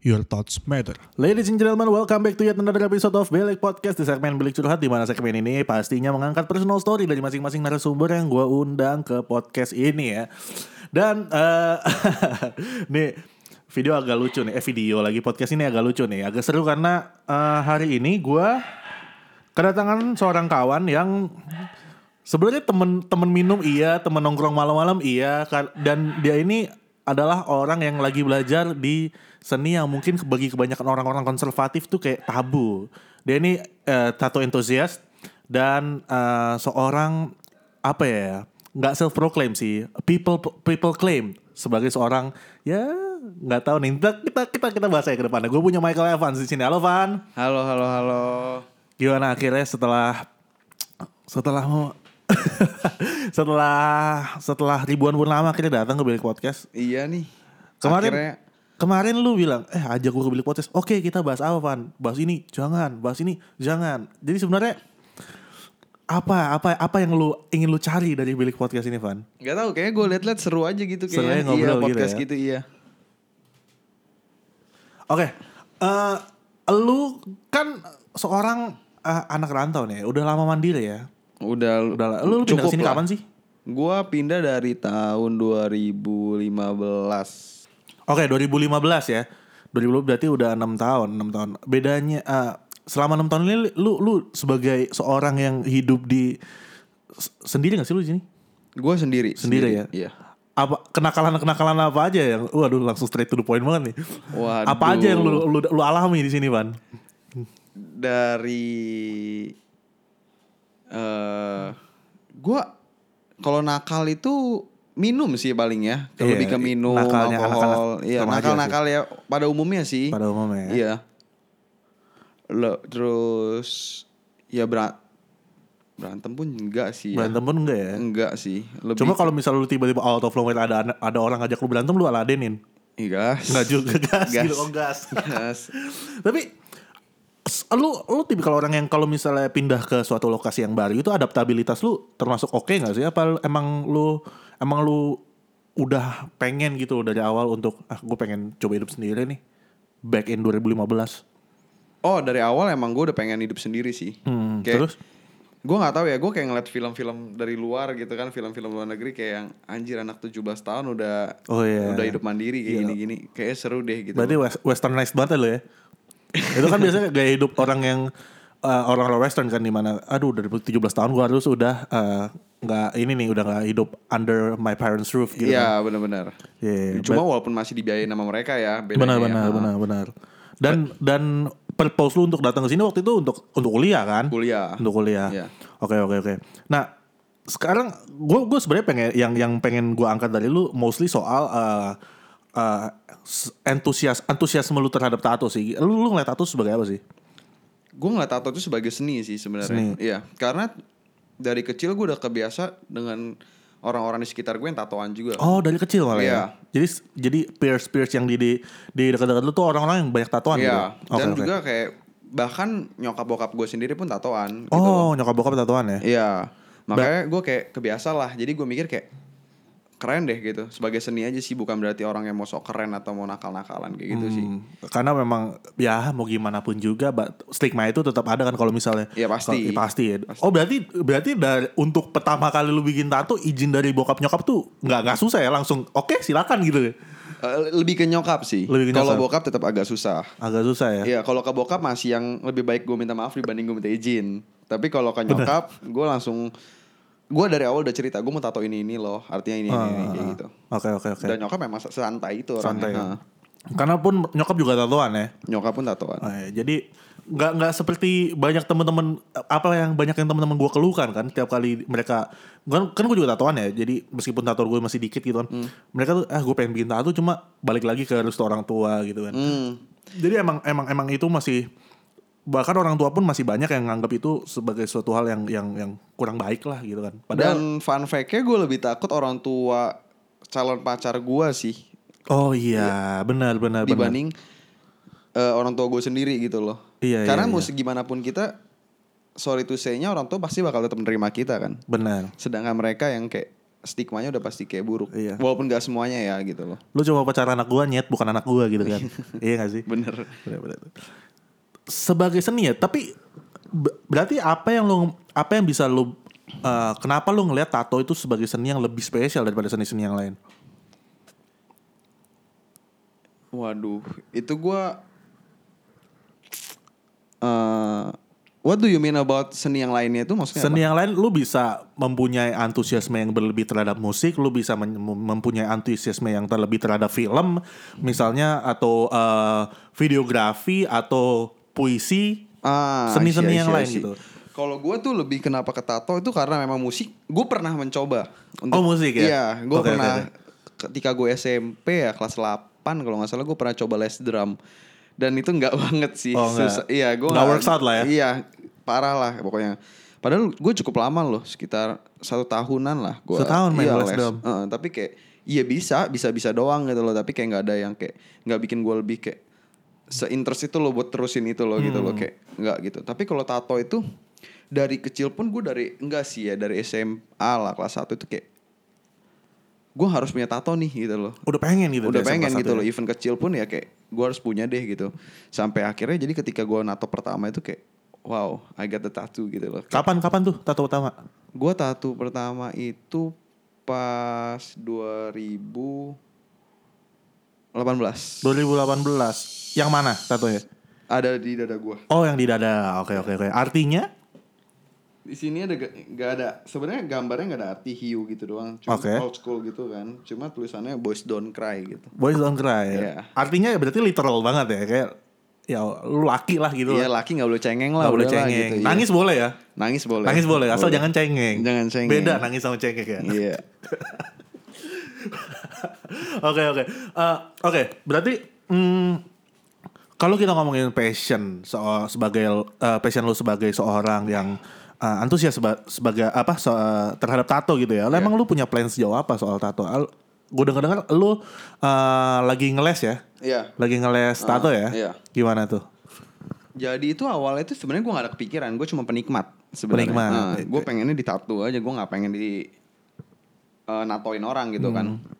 your thoughts matter. Ladies and gentlemen, welcome back to yet another episode of Belik Podcast di segmen Belik Curhat di mana segmen ini pastinya mengangkat personal story dari masing-masing narasumber yang gue undang ke podcast ini ya. Dan eh nih video agak lucu nih, eh video lagi podcast ini agak lucu nih, agak seru karena eh, hari ini gue kedatangan seorang kawan yang sebenarnya temen temen minum iya, temen nongkrong malam-malam iya, kar- dan dia ini adalah orang yang lagi belajar di seni yang mungkin bagi kebanyakan orang-orang konservatif tuh kayak tabu. Dia ini eh, tato enthusiast dan eh, seorang apa ya? nggak self proclaim sih, people people claim sebagai seorang ya nggak tahu nih kita kita kita, kita bahas aja ke depannya. Gue punya Michael Evans di sini. Halo Van. Halo, halo, halo. Gimana akhirnya setelah setelah mau setelah setelah ribuan bulan lama akhirnya datang ke Bilik Podcast. Iya nih. Kemarin Akhirnya, kemarin lu bilang, "Eh, ajak gua ke Bilik Podcast." Oke, kita bahas apa, Van? Bahas ini, jangan. Bahas ini, jangan. Jadi sebenarnya apa apa apa yang lu ingin lu cari dari Bilik Podcast ini, Van? nggak tahu kayaknya gue liat-liat seru aja gitu Seru aja kayaknya. ngobrol iya, gitu podcast ya. gitu, iya. Oke. Eh lu kan seorang eh, anak rantau nih, udah lama mandiri ya. Udah, Udah lah. Lu, lu pindah ke sini kapan sih? Gue pindah dari tahun 2015. Oke, 2015 ya. 2015 berarti udah enam tahun, enam tahun. Bedanya eh, selama enam tahun ini lu lu sebagai seorang yang hidup di s- sendiri gak sih lu di sini? Gue sendiri, Sendiri ya? Iya. Apa kenakalan-kenakalan apa aja yang waduh langsung straight to the point banget nih. Waduh. Apa aja yang lu lu, lu alami di sini, Van? Dari eh gue kalau nakal itu minum sih paling ya. Kalau Iya, lebih ke minum, nakalnya alkohol. anak-anak Iya, remaja sih. nakal-nakal ya pada umumnya sih. Pada umumnya. ya. Iya. Lo terus ya berat berantem pun enggak sih. ya. Berantem pun enggak ya? Enggak sih. Lebih Cuma kalau misal lu tiba-tiba out of nowhere ada ada orang ngajak lu berantem lu aladenin. Ih, gas. Enggak juga gas, Gas. gitu oh, gas. Gas. Tapi s- lu lu tipikal orang yang kalau misalnya pindah ke suatu lokasi yang baru itu adaptabilitas lu termasuk oke nggak sih? Apa emang lu emang lu udah pengen gitu dari awal untuk ah gue pengen coba hidup sendiri nih back in 2015. Oh dari awal emang gue udah pengen hidup sendiri sih. Hmm, terus? Gue nggak tahu ya. Gue kayak ngeliat film-film dari luar gitu kan, film-film luar negeri kayak yang anjir anak 17 tahun udah Oh, iya. udah hidup mandiri kayak gini-gini. Kayaknya seru deh gitu. Berarti wes- westernized banget lo ya. itu kan biasanya gaya hidup orang yang eh, orang-orang western kan dimana aduh dari 17 tahun gue harus udah eh, nggak ini nih udah nggak hidup under my parents roof gitu. kan. Iya benar-benar. Iya, Cuma walaupun masih dibiayain sama mereka ya. bedanya benar ya. benar benar benar dan dan purpose lu untuk datang ke sini waktu itu untuk untuk kuliah kan Kuliah. untuk kuliah Iya. oke oke oke nah sekarang gue gue sebenarnya pengen yang yang pengen gue angkat dari lu mostly soal eh, eh, s- entusias antusiasme lu terhadap tato sih lu lu ngeliat tato sebagai apa sih gue ngeliat tato itu sebagai seni sih Seni. sebenarnya. Iya, karena dari kecil gue udah kebiasa dengan orang-orang di sekitar gue yang tatoan juga. oh dari kecil malah Iya. ya jadi jadi peers peers yang di di di dekat-dekat lu tuh orang-orang yang banyak tatoan Iya, gitu Oke, dan oke. juga kayak bahkan nyokap bokap gue sendiri pun tatoan. gitu. oh nyokap bokap tatoan ya Iya, makanya gue kayak kebiasa lah. Jadi gue mikir kayak keren deh gitu. Sebagai seni aja sih, bukan berarti orang yang mau sok keren atau mau nakal-nakalan kayak gitu sih. Hmm, Karena memang ya mau gimana pun juga ba- stigma itu tetap ada kan kalau misalnya. Iya, pasti. Kalau- iya, pasti ya. Pasti. Oh berarti berarti dari untuk pertama kali lu bikin tato izin dari bokap nyokap tuh nggak nggak susah ya langsung oke silakan gitu. Eh, lebih ke nyokap sih. Lebih ke Kalau nyokap. bokap tetap agak susah. Agak susah ya. Iya, kalau ke bokap masih yang lebih baik gue minta maaf dibanding gue minta izin. Tapi kalau ke nyokap, gue langsung gue dari awal udah cerita gue mau tato ini ini loh, artinya ini ini, ini, Ah, kayak ah, gitu. ah. Oke oke oke. Dan nyokap memang santai itu orangnya. Santai. ya. Nah, Karena pun nyokap juga tatoan ya. nyokap pun tatoan. Oh, ya. Jadi nggak nggak seperti banyak teman-teman apa yang banyak yang teman-teman gue keluhkan kan tiap kali mereka kan kan gue juga tatoan ya jadi meskipun tato gue masih dikit gitu kan Hmm. mereka tuh ah gue pengen bikin tato cuma balik lagi ke restu orang tua gitu kan Hmm. jadi emang emang emang itu masih bahkan orang tua pun masih banyak yang nganggap itu sebagai suatu hal yang yang yang kurang baik lah gitu kan padahal Dan fun fact-nya gue lebih takut orang tua calon pacar gua sih Oh iya, benar benar benar. dibanding eh, orang tua gue sendiri gitu loh. Iya, Karena iya, mau iya. segimana pun kita sorry to say-nya orang tua pasti bakal tetap menerima kita kan. Benar. Sedangkan mereka yang kayak stigmanya udah pasti kayak buruk. Iya. Walaupun gak semuanya ya gitu loh. Lu cuma pacar anak gua nyet, bukan anak gua gitu kan. iya gak sih? Bener. Benar, benar. Sebagai seni ya, tapi be- berarti apa yang lu apa yang bisa lu eh, kenapa lu ngelihat tato itu sebagai seni yang lebih spesial daripada seni-seni yang lain? Waduh, itu gua eh What do you mean about seni yang lainnya itu maksudnya Seni apa? yang lain lu bisa mempunyai antusiasme yang berlebih terhadap musik, lu bisa men- mempunyai antusiasme yang terlebih terhadap film misalnya atau eh, videografi atau puisi. Ah, Seni-seni I see, I yang see, I lain see. gitu. Kalau gua tuh lebih kenapa ke tato itu karena memang musik. Gue pernah mencoba. Oh, musik ya? Iya, gue Oke, pernah oke, ketika gue SMP ya kelas 8 kalau nggak salah gue pernah coba les drum dan itu nggak banget sih. Oh, nggak. Susah. Iya, gue Nggak works out lah ya? Iya, parah lah pokoknya. Padahal gue cukup lama loh, sekitar satu tahunan lah. Gua, Setahun main iya, les drum. Heeh, tapi kayak iya bisa, bisa-bisa doang gitu loh. Tapi kayak nggak ada yang kayak nggak bikin gue lebih kayak se-interest itu loh buat terusin itu loh gitu loh Hmm. kayak nggak gitu. Tapi kalau tato itu dari kecil pun gue dari enggak sih ya dari SMA lah kelas 1 itu kayak gue harus punya tato nih gitu loh. Udah pengen gitu. Udah dari pengen SMA gitu satu loh, ya. event kecil pun ya kayak gue harus punya deh gitu. Sampai akhirnya jadi ketika gue nato pertama itu kayak wow, I got the tattoo gitu loh. Kapan kapan tuh tato utama? Gue tato pertama itu pas 2018. 2018. Yang mana ya? tatonya? Ada di dada gue. Oh, yang di dada. Oke, oke, oke. Artinya? Di sini ada ga- nggak ada sebenarnya gambarnya nggak ada arti hiu gitu doang. Cuma Oke. old school gitu kan. Cuma tulisannya boys don't cry gitu. Boys don't cry. Iya. Artinya ya berarti literal banget ya, kayak ya lu laki lah gitu. Iya laki nggak boleh cengeng lah. Gak boleh udahlah cengeng. gitu, iya. Nangis boleh ya? Nangis boleh. Nangis boleh, asal jangan cengeng. Jangan cengeng. Beda nangis sama cengeng ya. Iya. Oke oke. Eh, Oke, berarti mm, kalau kita ngomongin passion so- sebagai eh, passion lu sebagai seorang yang eh, antusias seba- sebagai apa so- terhadap tato gitu Iya. ya. Lah, Emang lu punya plan sejauh apa soal tato? Gue denger-dengar lu eh, lagi ngeles ya? Iya. Lagi ngeles tato ya? iya. Gimana tuh? Jadi itu awalnya itu sebenarnya gue gak ada kepikiran, gue cuma penikmat sebenarnya. Penikmat. gue pengennya ditato aja, gue nggak pengen di eh, natoin orang gitu kan. Hmm.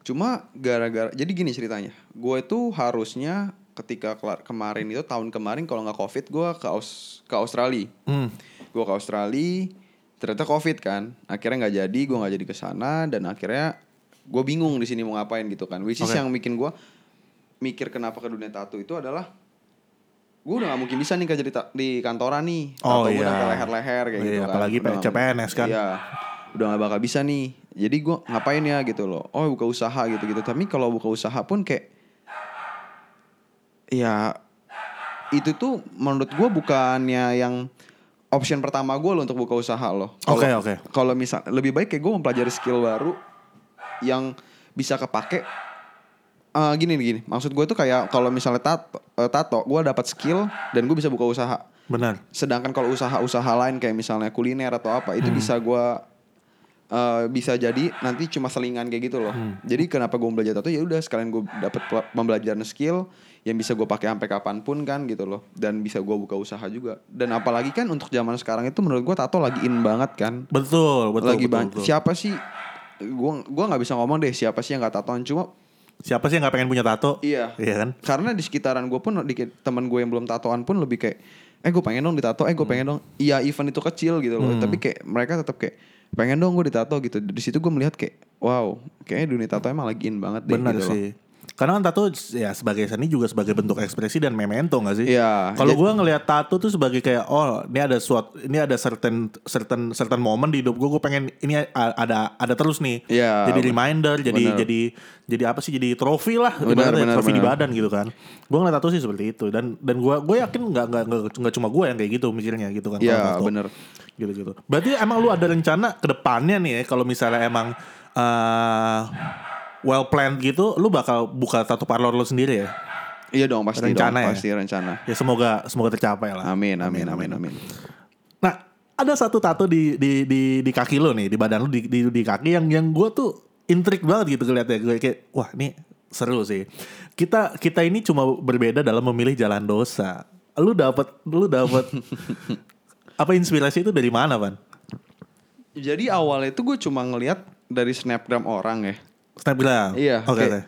Cuma gara-gara, jadi gini ceritanya, gue itu harusnya ketika kelar- kemarin itu tahun kemarin kalau nggak covid gue ke Aus- ke Australia, Hmm. gue ke Australia ternyata covid kan, akhirnya nggak jadi, gue nggak jadi ke sana dan akhirnya gue bingung di sini mau ngapain gitu kan. Which is Oke. yang bikin gue mikir kenapa ke dunia tato itu adalah gue udah gak mungkin bisa nih kerja di, ta- di kantoran nih Oh, Tato gua iya. udah sampai leher-leher kayak Iya, gitu kan apalagi Udah P- gak mungkin. CPNS kan. Iya Udah gak bakal bisa nih Jadi gue ngapain ya gitu loh Oh buka usaha gitu-gitu Tapi kalau buka usaha pun kayak Ya Itu tuh menurut gue bukannya yang Option pertama gue loh untuk buka usaha loh Kalau- Oke, oke. Kalau misal Lebih baik kayak gue mempelajari skill baru Yang bisa kepake Eh, gini nih, gini, maksud gue tuh kayak kalau misalnya tato, eh, tato gue dapat skill dan gue bisa buka usaha. Benar. Sedangkan kalau usaha-usaha lain kayak misalnya kuliner atau apa Hmm. itu bisa gue eh, bisa jadi nanti cuma selingan kayak gitu loh. Hmm. Jadi kenapa gue belajar tato ya udah sekalian gue dapat pe- pembelajaran skill yang bisa gue pakai sampai kapanpun kan gitu loh dan bisa gue buka usaha juga. Dan apalagi kan untuk zaman sekarang itu menurut gue tato lagi in banget kan Betul, betul. lagi betul, banyak. betul. Siapa sih? Gue gua nggak bisa ngomong deh siapa sih yang nggak tatoan cuma Siapa sih yang gak pengen punya tato? Iya. Iya kan? karena di sekitaran gue pun di teman gue yang belum tatoan pun lebih kayak eh gue pengen dong ditato eh gue pengen dong iya event itu kecil gitu Hmm. loh tapi kayak mereka tetap kayak pengen dong gue ditato gitu di situ gue melihat kayak wow kayaknya dunia tato emang lagi in banget deh Benar gitu sih. loh Karena kan tato ya sebagai seni juga sebagai bentuk ekspresi dan memento gak sih? Iya. Kalau Ja- gua ngelihat tato tuh sebagai kayak oh ini ada suatu ini ada certain certain certain momen di hidup gua, gua pengen ini a- ada ada terus nih. Iya, Jadi bener. reminder, jadi Bener. jadi jadi apa sih? Jadi trofi lah, Bener, ibaratnya, bener, trofi di bener. badan gitu kan. Gua ngeliat tato sih seperti itu dan dan gua gue yakin nggak nggak nggak- nggak cuma gua yang kayak gitu mikirnya gitu kan. kalau Iya, tato. bener. Gitu-gitu. Berarti emang lu ada rencana ke depannya nih ya kalau misalnya emang eh, well planned gitu lu bakal buka tato parlor lu sendiri ya. iya dong pasti Rencana dong, ya? pasti rencana Ya semoga semoga tercapai lah. amin amin amin amin, Nah, ada satu tato di di di di kaki lu nih, di badan lu di di, di kaki yang yang gua tuh intrik banget gitu kelihatnya gue kayak wah ini seru sih kita kita ini cuma berbeda dalam memilih jalan dosa lu dapat lu dapat apa inspirasi itu dari mana van Jadi awalnya itu gue cuma ngelihat dari snapgram orang ya. snapgram Iya. Oh, oke kayak oke.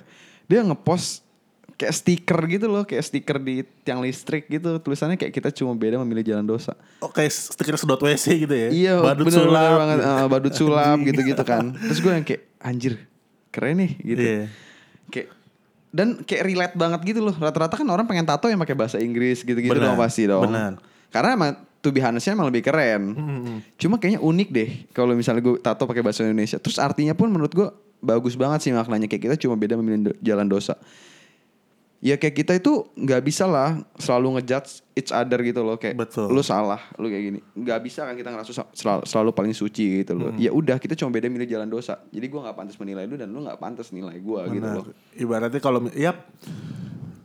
Dia ngepost kayak stiker gitu loh, kayak stiker di tiang listrik gitu. Tulisannya kayak kita cuma beda memilih jalan dosa. Oke, Oh, stiker sedot WC gitu ya. Iya, badut bener-bener sulap. gitu. banget. Eh, badut sulap gitu-gitu kan. Terus gue yang kayak anjir, keren nih gitu. Iya. Kayak dan kayak relate banget gitu loh. Rata-rata kan orang pengen tato yang pakai bahasa Inggris gitu-gitu Benar, dong pasti dong. benar. Hmm, Karena emang to be honest-nya emang lebih keren. Cuma kayaknya unik deh kalau misalnya gue tato pakai bahasa Indonesia. Terus artinya pun menurut gue bagus banget sih maknanya kayak kita cuma beda memilih do- jalan dosa. Ya kayak kita itu nggak bisa lah selalu ngejudge each other gitu loh kayak Betul. lu salah, lu kayak gini. nggak bisa kan kita ngerasa sa- selalu, selalu paling suci gitu loh. Ya udah kita cuma beda milih jalan dosa. Jadi gua nggak pantas menilai lu dan lu nggak pantas nilai gua gitu Benar. loh. Ibaratnya kalau ya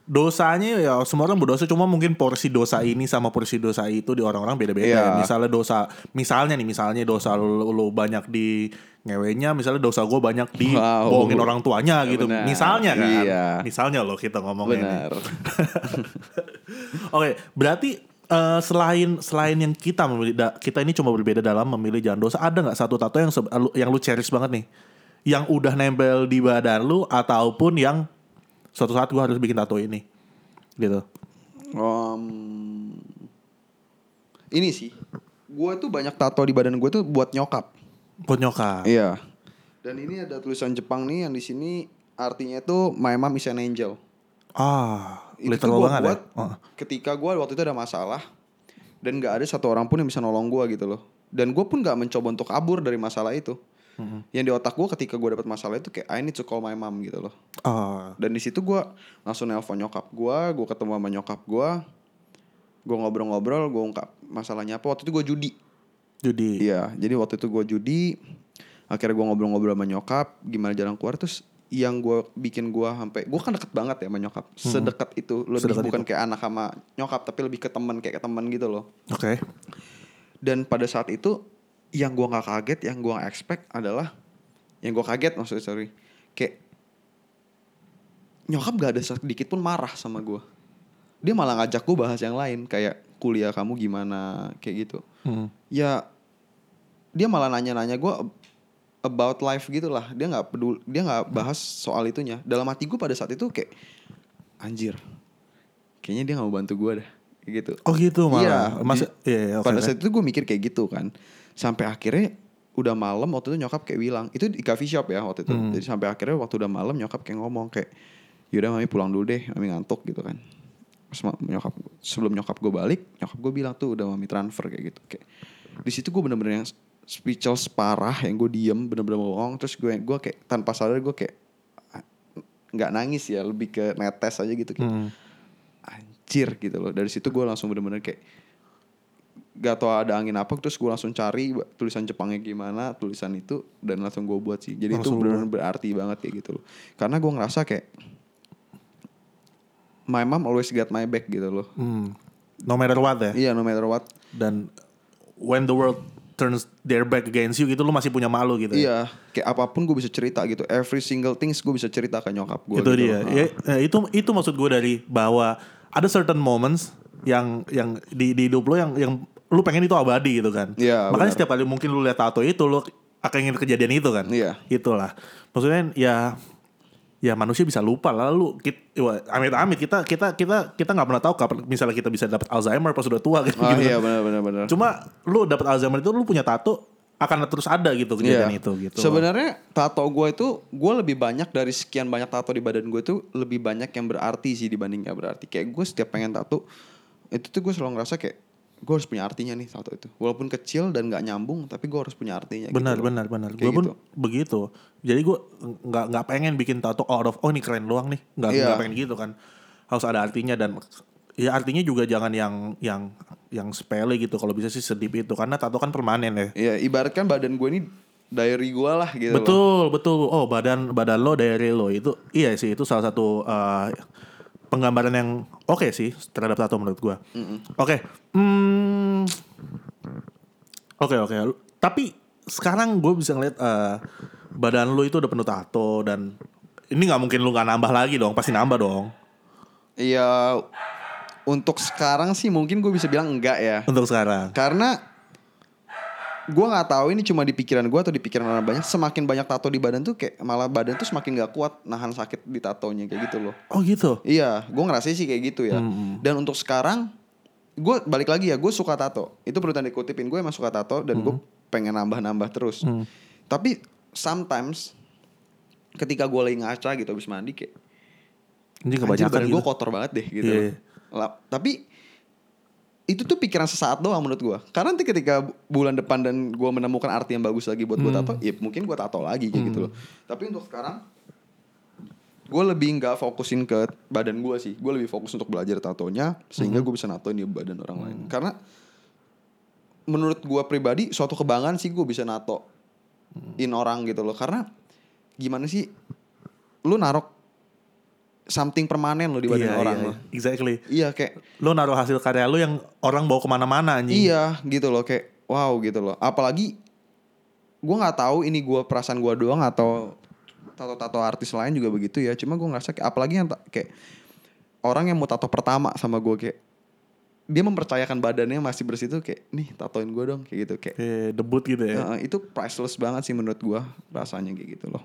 dosanya ya semua orang berdosa cuma mungkin porsi dosa ini sama porsi dosa itu di orang-orang beda-beda. Iya. ya. Misalnya dosa misalnya nih misalnya dosa lu, lu banyak di ngewenya, misalnya dosa gue banyak di Wow. bohongin orang tuanya Ya, gitu. benar. Misalnya kan. Iya. Misalnya loh kita ngomongin. Benar. Oke, berarti eh, selain selain yang kita memilih da- kita ini cuma berbeda dalam memilih jalan dosa, ada nggak satu tato yang se- lu- yang lu cherish banget nih? Yang udah nempel di badan lu ataupun yang suatu saat gua harus bikin tato ini. Gitu. Om, ini sih, gue tuh banyak tato di badan gue tuh buat nyokap. Buat nyokap. Iya. Dan ini ada tulisan Jepang nih yang di sini artinya itu My Mom is an Angel. Ah, Itu tuh literal gua banget buat ya. Oh. ketika gue waktu itu ada masalah dan gak ada satu orang pun yang bisa nolong gue gitu loh. Dan gue pun gak mencoba untuk kabur dari masalah itu. Yang di otak gue ketika gue dapet masalah itu kayak I need to call my mom gitu loh. Ah, Dan di situ gue langsung nelpon nyokap gue, gue ketemu sama nyokap gue, gue ngobrol-ngobrol, gue ungkap masalahnya apa. Waktu itu gue judi. jadi Iya, jadi waktu itu gue judi, akhirnya gue ngobrol-ngobrol sama nyokap, gimana jalan keluar terus yang gue bikin gue sampai gue kan deket banget ya sama nyokap sedekat itu lebih Sedekat bukan kayak anak sama nyokap tapi lebih ke teman kayak ke teman gitu loh oke. dan pada saat itu yang gua nggak kaget yang gua nggak expect adalah yang gua kaget maksudnya sorry kayak nyokap gak ada sedikit pun marah sama gua dia malah ngajak gua bahas yang lain kayak kuliah kamu gimana kayak gitu Hmm. ya dia malah nanya-nanya gua ab- about life gitulah dia nggak peduli dia nggak bahas soal itunya dalam hati gua pada saat itu kayak anjir kayaknya dia nggak mau bantu gua dah Kayak gitu Oh gitu malah. Iya, Mas- di- iya, iya, oke, pada oke. saat itu gue mikir kayak gitu kan. Sampai akhirnya udah malam waktu itu nyokap kayak bilang itu di coffee shop ya waktu itu. Jadi sampai akhirnya waktu udah malam nyokap kayak ngomong kayak yaudah mami pulang dulu deh, mami ngantuk gitu kan. Terus ma- nyokap sebelum nyokap gue balik, nyokap gue bilang tuh udah mami transfer kayak gitu. Kayak di situ gue bener-bener yang speechless parah yang gue diem bener-bener bohong terus gue gue kayak tanpa sadar gue kayak "Ah, nggak nangis ya lebih ke netes aja gitu kayak anjir gitu loh dari situ gue langsung bener-bener kayak gak tau ada angin apa terus gue langsung cari ba- tulisan Jepangnya gimana tulisan itu dan langsung gue buat sih jadi Langsung itu benar-benar berarti banget kayak gitu loh karena gue ngerasa kayak my mom always got my back gitu loh Hmm. No matter what ya. iya no matter what Dan when the world turns their back against you gitu lu masih punya malu gitu. ya. iya kayak apapun gue bisa cerita gitu every single things gue bisa cerita ke nyokap gue itu gitu dia loh. Ya, eh, itu itu maksud gue dari bahwa ada certain moments yang yang di di hidup lo yang yang lu pengen itu abadi gitu kan Iya, makanya benar. setiap kali mungkin lu lihat tato itu lu akan ingat kejadian itu kan Iya. itulah maksudnya ya ya manusia bisa lupa lalu kita amit-amit kita kita kita kita nggak pernah tahu kapan misalnya kita bisa dapat Alzheimer pas sudah tua gitu, ah gitu. iya benar-benar benar cuma lu dapat Alzheimer itu lu punya tato akan terus ada gitu kejadian Iya. itu gitu Sebenarnya tato gue itu gue lebih banyak dari sekian banyak tato di badan gue tuh lebih banyak yang berarti sih dibanding gak berarti. Kayak gue setiap pengen tato itu tuh gue selalu ngerasa kayak gue harus punya artinya nih tato itu. Walaupun kecil dan gak nyambung tapi gue harus punya artinya. benar gitu loh. benar benar Kayak gue pun gitu. begitu jadi gue nggak nggak pengen bikin tato out of oh ini keren doang nih nggak Iya. nggak pengen gitu kan harus ada artinya dan ya artinya juga jangan yang yang yang sepele gitu kalau bisa sih sedip itu karena tato kan permanen ya Iya ibaratkan badan gue ini diary gue lah gitu. loh. betul betul oh badan badan lo dari lo itu iya sih itu salah satu eh, penggambaran yang oke sih terhadap tato menurut gua oke hmm, oke oke tapi sekarang gue bisa ngeliat eh, badan lu itu udah penuh tato dan ini nggak mungkin lu nggak nambah lagi dong, pasti nambah dong. Iya untuk sekarang sih mungkin gue bisa bilang enggak ya. Untuk sekarang. Karena gue nggak tahu ini cuma di pikiran gue atau di pikiran orang banyak. Semakin banyak tato di badan tuh kayak malah badan tuh semakin nggak kuat nahan sakit di tatonya kayak gitu loh. Oh gitu. Iya, gue ngerasa sih kayak gitu ya. Dan untuk sekarang, gue balik lagi ya, gue suka tato. Itu perlu tanda kutipin gue emang suka tato dan gue pengen nambah-nambah terus. Tapi sometimes ketika gue lagi ngaca gitu abis mandi kayak Ini anjir kebanyakan badan gitu. gue kotor banget deh gitu. Iya, loh. iya. Lah, tapi itu tuh pikiran sesaat doang menurut gue. Karena nanti ketika bu- bulan depan dan gue menemukan arti yang bagus lagi buat gue Hmm. tato, ya mungkin gue tato lagi kayak gitu loh. Tapi untuk sekarang gue lebih nggak fokusin ke badan gue sih. Gue lebih fokus untuk belajar tatonya Hmm. sehingga gue bisa natoin di badan orang lain. Karena menurut gue pribadi suatu kebanggaan sih gue bisa nato in orang gitu loh. Karena gimana sih lu narok something permanen lo di badan Iya, orang iya, Hmm. lo. Exactly. Iya kayak Lu naruh hasil karya lu yang orang bawa kemana-mana anjing. iya gitu loh kayak wow gitu loh. Apalagi gua nggak tahu ini gua perasaan gua doang atau tato-tato artis lain juga begitu ya. Cuma gua ngerasa kayak apalagi yang ta- kayak orang yang mau tato pertama sama gua kayak dia mempercayakan badannya masih bersih tuh kayak nih tatoin gua dong kayak gitu kayak Eh, debut gitu ya. eh, itu priceless banget sih menurut gua rasanya kayak gitu loh.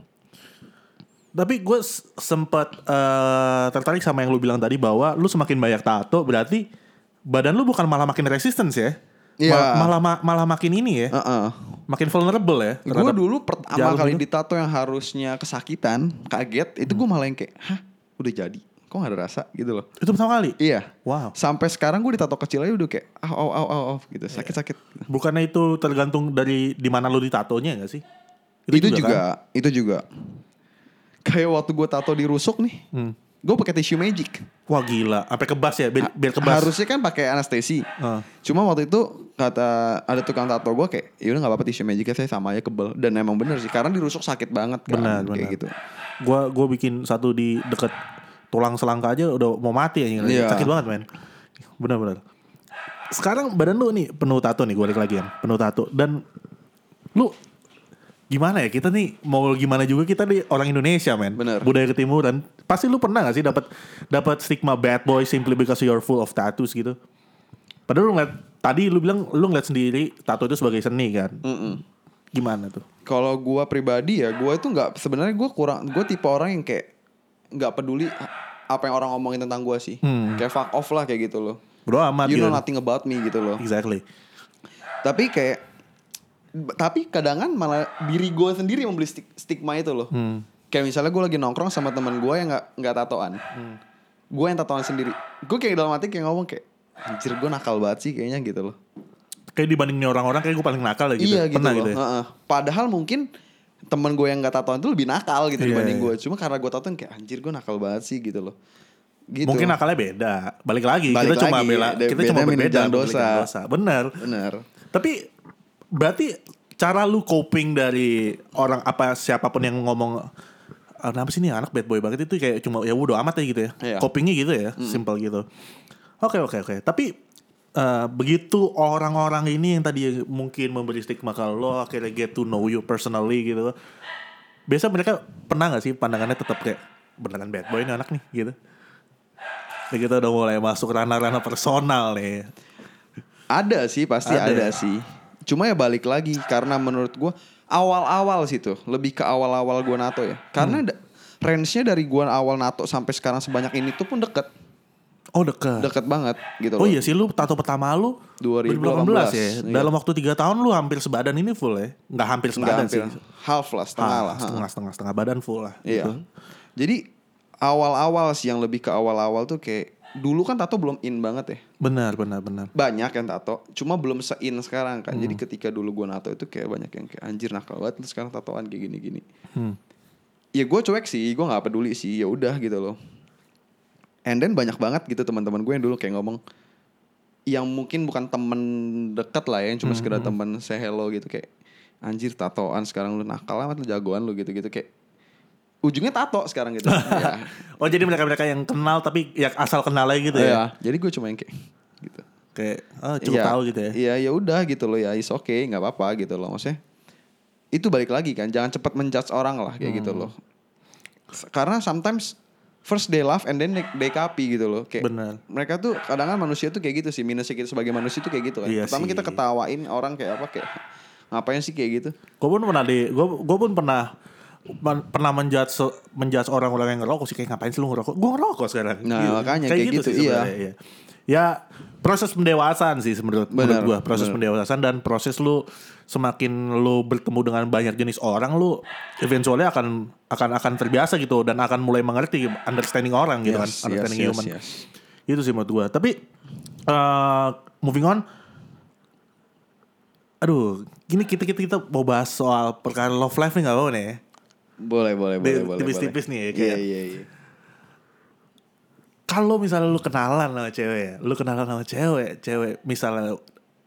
Tapi gue sempat eh, tertarik sama yang lu bilang tadi bahwa lu semakin banyak tato berarti badan lu bukan malah makin resistance ya. Iya. Mal- Malah, ma- malah makin ini ya. Heeh. Makin vulnerable ya. Gue terhadap- dulu pertama jarum kali itu. ditato yang harusnya kesakitan, kaget, itu Hmm. gue malah yang kayak, hah, udah jadi, kok gak ada rasa gitu loh. itu pertama kali. Iya. Wow. Sampai sekarang gue ditato kecil aja udah kayak, ah, au, au, au, au, gitu, Iya. sakit-sakit. Bukannya itu tergantung dari di mana lu ditatonya gak sih? Itu, juga, kan? itu juga. Kayak waktu gue tato di rusuk nih, Hmm. gue pakai tisu magic. Wah gila, sampai kebas ya, biar, biar kebas. Harusnya kan pakai anestesi. Heeh. Cuma waktu itu kata ada tukang tato gue kayak, yaudah nggak apa-apa tisu magicnya saya sama aja kebel. Dan emang bener sih, karena di rusuk sakit banget kan, Benar, kayak benar. gitu. Gua gua bikin satu di deket tulang selangka aja udah mau mati ya Iya. Sakit banget men. Benar-benar. Sekarang badan lu nih penuh tato nih gue balik lagi ya, penuh tato dan lu gimana ya kita nih mau gimana juga kita nih orang Indonesia men Benar. budaya ketimuran pasti lu pernah gak sih dapat dapat stigma bad boy simply because you're full of tattoos gitu padahal lu ngeliat tadi lu bilang lu ngeliat sendiri tato itu sebagai seni kan gimana tuh kalau gua pribadi ya gua itu nggak sebenarnya gua kurang gue tipe orang yang kayak nggak peduli apa yang orang ngomongin tentang gua sih kayak fuck off lah kayak gitu loh bro amat you gitu. know nothing about me gitu loh Exactly. tapi kayak b- tapi kadangan malah diri gua sendiri membeli stig- stigma itu loh kayak misalnya gua lagi nongkrong sama teman gua yang nggak nggak tatoan Gua yang tatoan sendiri gue kayak dalam hati kayak ngomong kayak anjir gua nakal banget sih kayaknya gitu loh Kayak dibandingin orang-orang kayak gue paling nakal ya gitu. Iya gitu Pernah loh. gitu ya. Heeh. Padahal mungkin temen gue yang gak tatoan itu lebih nakal gitu Iya, dibanding iya. gue. Cuma karena gue tatoan kayak anjir gue nakal banget sih gitu loh. Gitu. Mungkin nakalnya beda. Balik lagi Balik kita cuma lagi, bela de- kita cuma beda berbeda menunjang memberikan dosa. Bener. Bener. Tapi berarti cara lu coping dari orang apa siapapun yang ngomong "Ah, kenapa sih ini anak bad boy banget itu kayak cuma ya udah amat ya gitu ya. Iya. Copingnya gitu ya, simple gitu. Oke oke oke. Tapi eh, begitu orang-orang ini yang tadi mungkin memberi stigma kalau lo akhirnya get to know you personally gitu. Biasa mereka pernah gak sih pandangannya tetap kayak beneran bad boy ini anak nih gitu. Nah, kita udah mulai masuk ranah-ranah personal nih. Ada sih pasti Ada. ada. sih. Cuma ya balik lagi karena menurut gue awal-awal sih tuh lebih ke awal-awal gue nato ya. Hmm. Karena da- range-nya dari gue awal nato sampai sekarang sebanyak ini tuh pun deket, Oh dekat. deket banget gitu Oh loh. iya sih lu tato pertama lu 2018 ya. iya. Dalam waktu 3 tahun lu hampir sebadan ini full ya. Nggak hampir Nggak sebadan hampir sih. half lah setengah Ah, lah. Ha. setengah, setengah, setengah badan full lah. Iya. gitu. Jadi awal-awal sih yang lebih ke awal-awal tuh kayak dulu kan tato belum in banget ya. Benar, benar, benar. Banyak yang tato, cuma belum se-in sekarang kan. Jadi Hmm. ketika dulu gue nato itu kayak banyak yang kayak anjir nakal banget lu sekarang tatoan kayak gini-gini. Hmm. Ya gue cuek sih, gue nggak peduli sih. Ya udah gitu loh. And then banyak banget gitu teman-teman gue yang dulu kayak ngomong yang mungkin bukan temen deket lah ya, yang Hmm, cuma sekedar temen say hello gitu kayak anjir tatoan sekarang lu nakal amat lu jagoan lu gitu-gitu kayak ujungnya tato sekarang gitu. ya. Oh jadi mereka-mereka yang kenal tapi ya asal kenal aja gitu ya. Iya, jadi gue cuma yang kayak gitu. Kayak oh, cukup Iya, tahu gitu ya. Iya, ya udah gitu loh ya, is okay, nggak apa-apa gitu loh maksudnya. itu balik lagi kan jangan cepat menjudge orang lah kayak gitu Hmm. loh S- karena sometimes first they laugh and then they, they copy gitu loh kayak Bener. mereka tuh kadang kan manusia tuh kayak gitu sih minusnya kita sebagai manusia tuh kayak gitu kan Iya pertama sih. kita ketawain orang kayak apa kayak ngapain sih kayak gitu Gue pun pernah di, gue pun pernah men- pernah menjudge se- menjudge orang-orang yang ngerokok sih kayak ngapain sih lu ngerokok? Gue ngerokok sekarang. Iya, Nah, makanya kayak gitu, sih iya. sebenarnya, iya. Ya proses pendewasaan sih menurut menurut Benar, gue proses benar. pendewasaan dan proses lu semakin lu bertemu dengan banyak jenis orang lu eventually akan akan akan terbiasa gitu dan akan mulai mengerti understanding orang gitu Yes, yes, kan understanding yes, human yes. itu Gitu sih menurut gue tapi eh moving on aduh gini kita kita kita mau bahas soal perkara love life nih nggak apa nih ya. boleh boleh Di- boleh boleh tipis-tipis boleh. nih ya, iya kayak- iya iya kalau misalnya lu kenalan sama cewek ya, lu kenalan sama cewek cewek misalnya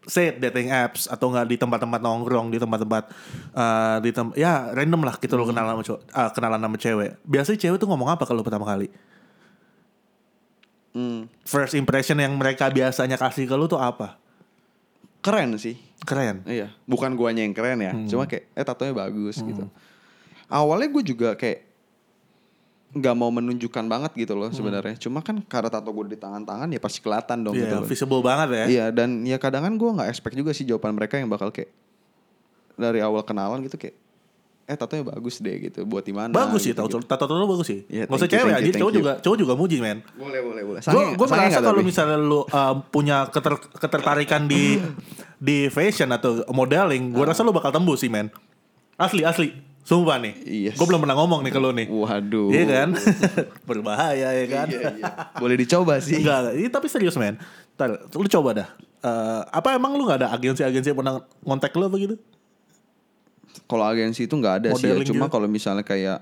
say dating apps atau nggak di tempat-tempat nongkrong di tempat-tempat eh di tem ya random lah gitu lu kenalan sama cowok ah, kenalan sama cewek biasanya cewek tuh ngomong apa kalau pertama kali Hmm, first impression yang mereka biasanya kasih ke lu tuh apa keren sih keren Iya, bukan guanya yang keren ya, Hmm. cuma kayak eh tatonya bagus gitu. Awalnya gue juga kayak nggak mau menunjukkan banget gitu loh Hmm. sebenarnya. Cuma kan karena tato gue di tangan-tangan ya pasti kelihatan dong gitu Iya, loh. visible banget ya Iya, dan ya kadang kan gue nggak expect juga sih jawaban mereka yang bakal kayak dari awal kenalan gitu kayak eh tatonya bagus deh gitu buat di mana. bagus sih gitu, tato gitu. tato tato bagus sih Iya, nggak usah thank you, cewek thank you, aja thank cowok you. juga cowok juga muji men Boleh, boleh, boleh. gue Sange- gue sange merasa nggak kalau tapi? misalnya lu um, punya keter- ketertarikan di di fashion atau modeling gue rasa lu bakal tembus sih men asli asli sumpah nih Yes. gue belum pernah ngomong nih ke lu nih Iya Waduh. iya kan berbahaya ya kan Iya, iya. Boleh dicoba sih. Enggak, enggak. Ini tapi serius men. Ntar, lu coba dah. Eh, apa emang lu nggak ada agensi-agensi yang pernah ngontek lu apa gitu? Kalau agensi itu nggak ada sih ya. Modeling Cuma gitu. kalau misalnya kayak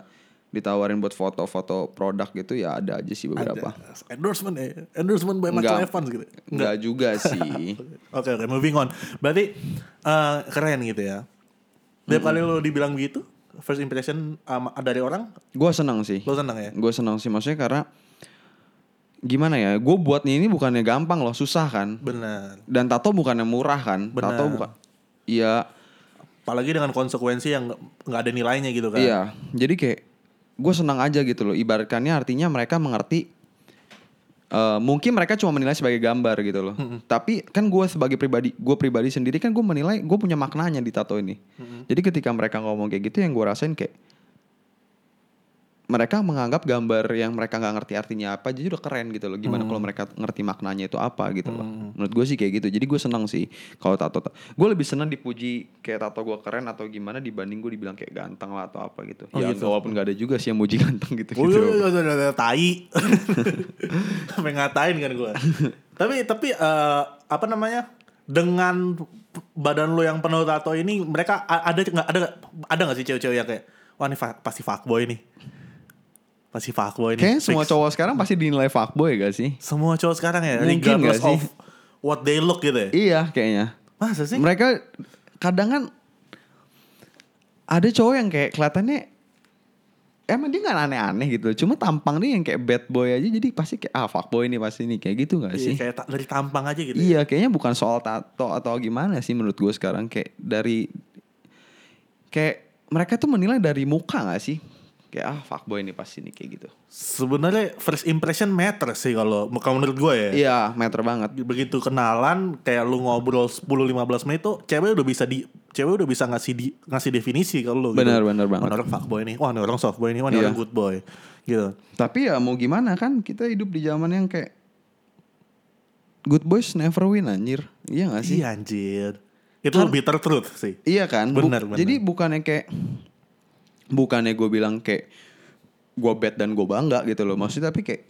ditawarin buat foto-foto produk gitu ya ada aja sih beberapa. Ada. Endorsement eh. Endorsement by Michael Enggak. Evans gitu. Enggak juga sih. Oke oke moving on. Berarti eh, keren gitu ya. Tiap kali lo dibilang begitu, first impression um, dari orang, Gue senang sih. lo seneng ya? Gue senang sih maksudnya karena gimana ya? Gue buatnya ini bukannya gampang loh, susah kan. Bener. Dan tato bukannya murah kan. Benar. Tato bukan. Iya, Apalagi dengan konsekuensi yang nggak ada nilainya gitu kan? iya. Jadi kayak gue senang aja gitu loh. Ibaratkannya artinya mereka mengerti. eh, mungkin mereka cuma menilai sebagai gambar gitu loh. Tapi kan gue sebagai pribadi, gue pribadi sendiri kan gue menilai gue punya maknanya di tato ini. Jadi ketika mereka ngomong kayak gitu, yang gue rasain kayak mereka menganggap gambar yang mereka nggak ngerti artinya apa jadi udah keren gitu loh gimana kalau mereka ngerti maknanya itu apa gitu loh menurut gue sih kayak gitu jadi gue senang sih kalau tato gue lebih senang dipuji kayak tato gue keren atau gimana dibanding gue dibilang kayak ganteng lah atau apa gitu ya walaupun gak ada juga sih yang muji ganteng gitu Oh iya, gitu iya, iya, iya, tai. Sampai ngatain kan gue. tapi tapi eh, apa namanya? Dengan badan lo yang penuh tato ini, mereka a- ada nggak ada ada nggak sih cewek-cewek yang kayak wah ini fa- pasti fuckboy nih. Pasti fuckboy nih. kayaknya Fix. semua cowok sekarang pasti dinilai fuckboy gak sih Semua cowok sekarang ya, Mungkin regardless nggak sih? of what they look gitu ya. iya kayaknya Masa sih? mereka kadang kan ada cowok yang kayak kelihatannya emang dia nggak aneh-aneh gitu cuma tampang dia yang kayak bad boy aja jadi pasti kayak ah fuck boy nih pasti nih kayak gitu nggak Iya, sih kayak ta- dari tampang aja gitu. iya kayaknya bukan soal tato atau gimana sih menurut gue sekarang kayak dari kayak mereka tuh menilai dari muka nggak sih kayak ah fuck boy nih pasti nih kayak gitu Sebenarnya first impression matters sih kalau kalau menurut gue ya. iya meter banget begitu kenalan kayak lu ngobrol 10 15 menit tuh cewek udah bisa di cewek udah bisa ngasih di, ngasih definisi ke lu Benar, gitu. benar banget. Wah, ini orang fuckboy nih. Wah, ini orang softboy nih. Wah, ini Iya. orang good boy. Gitu. Tapi ya mau gimana kan kita hidup di zaman yang kayak good boys never win anjir. Iya gak sih? Kan Iya anjir. Itu bitter truth sih. Iya kan? Bu- Benar, benar. Jadi bukannya kayak bukannya gue bilang kayak gue bad dan gue bangga gitu loh. Maksudnya tapi kayak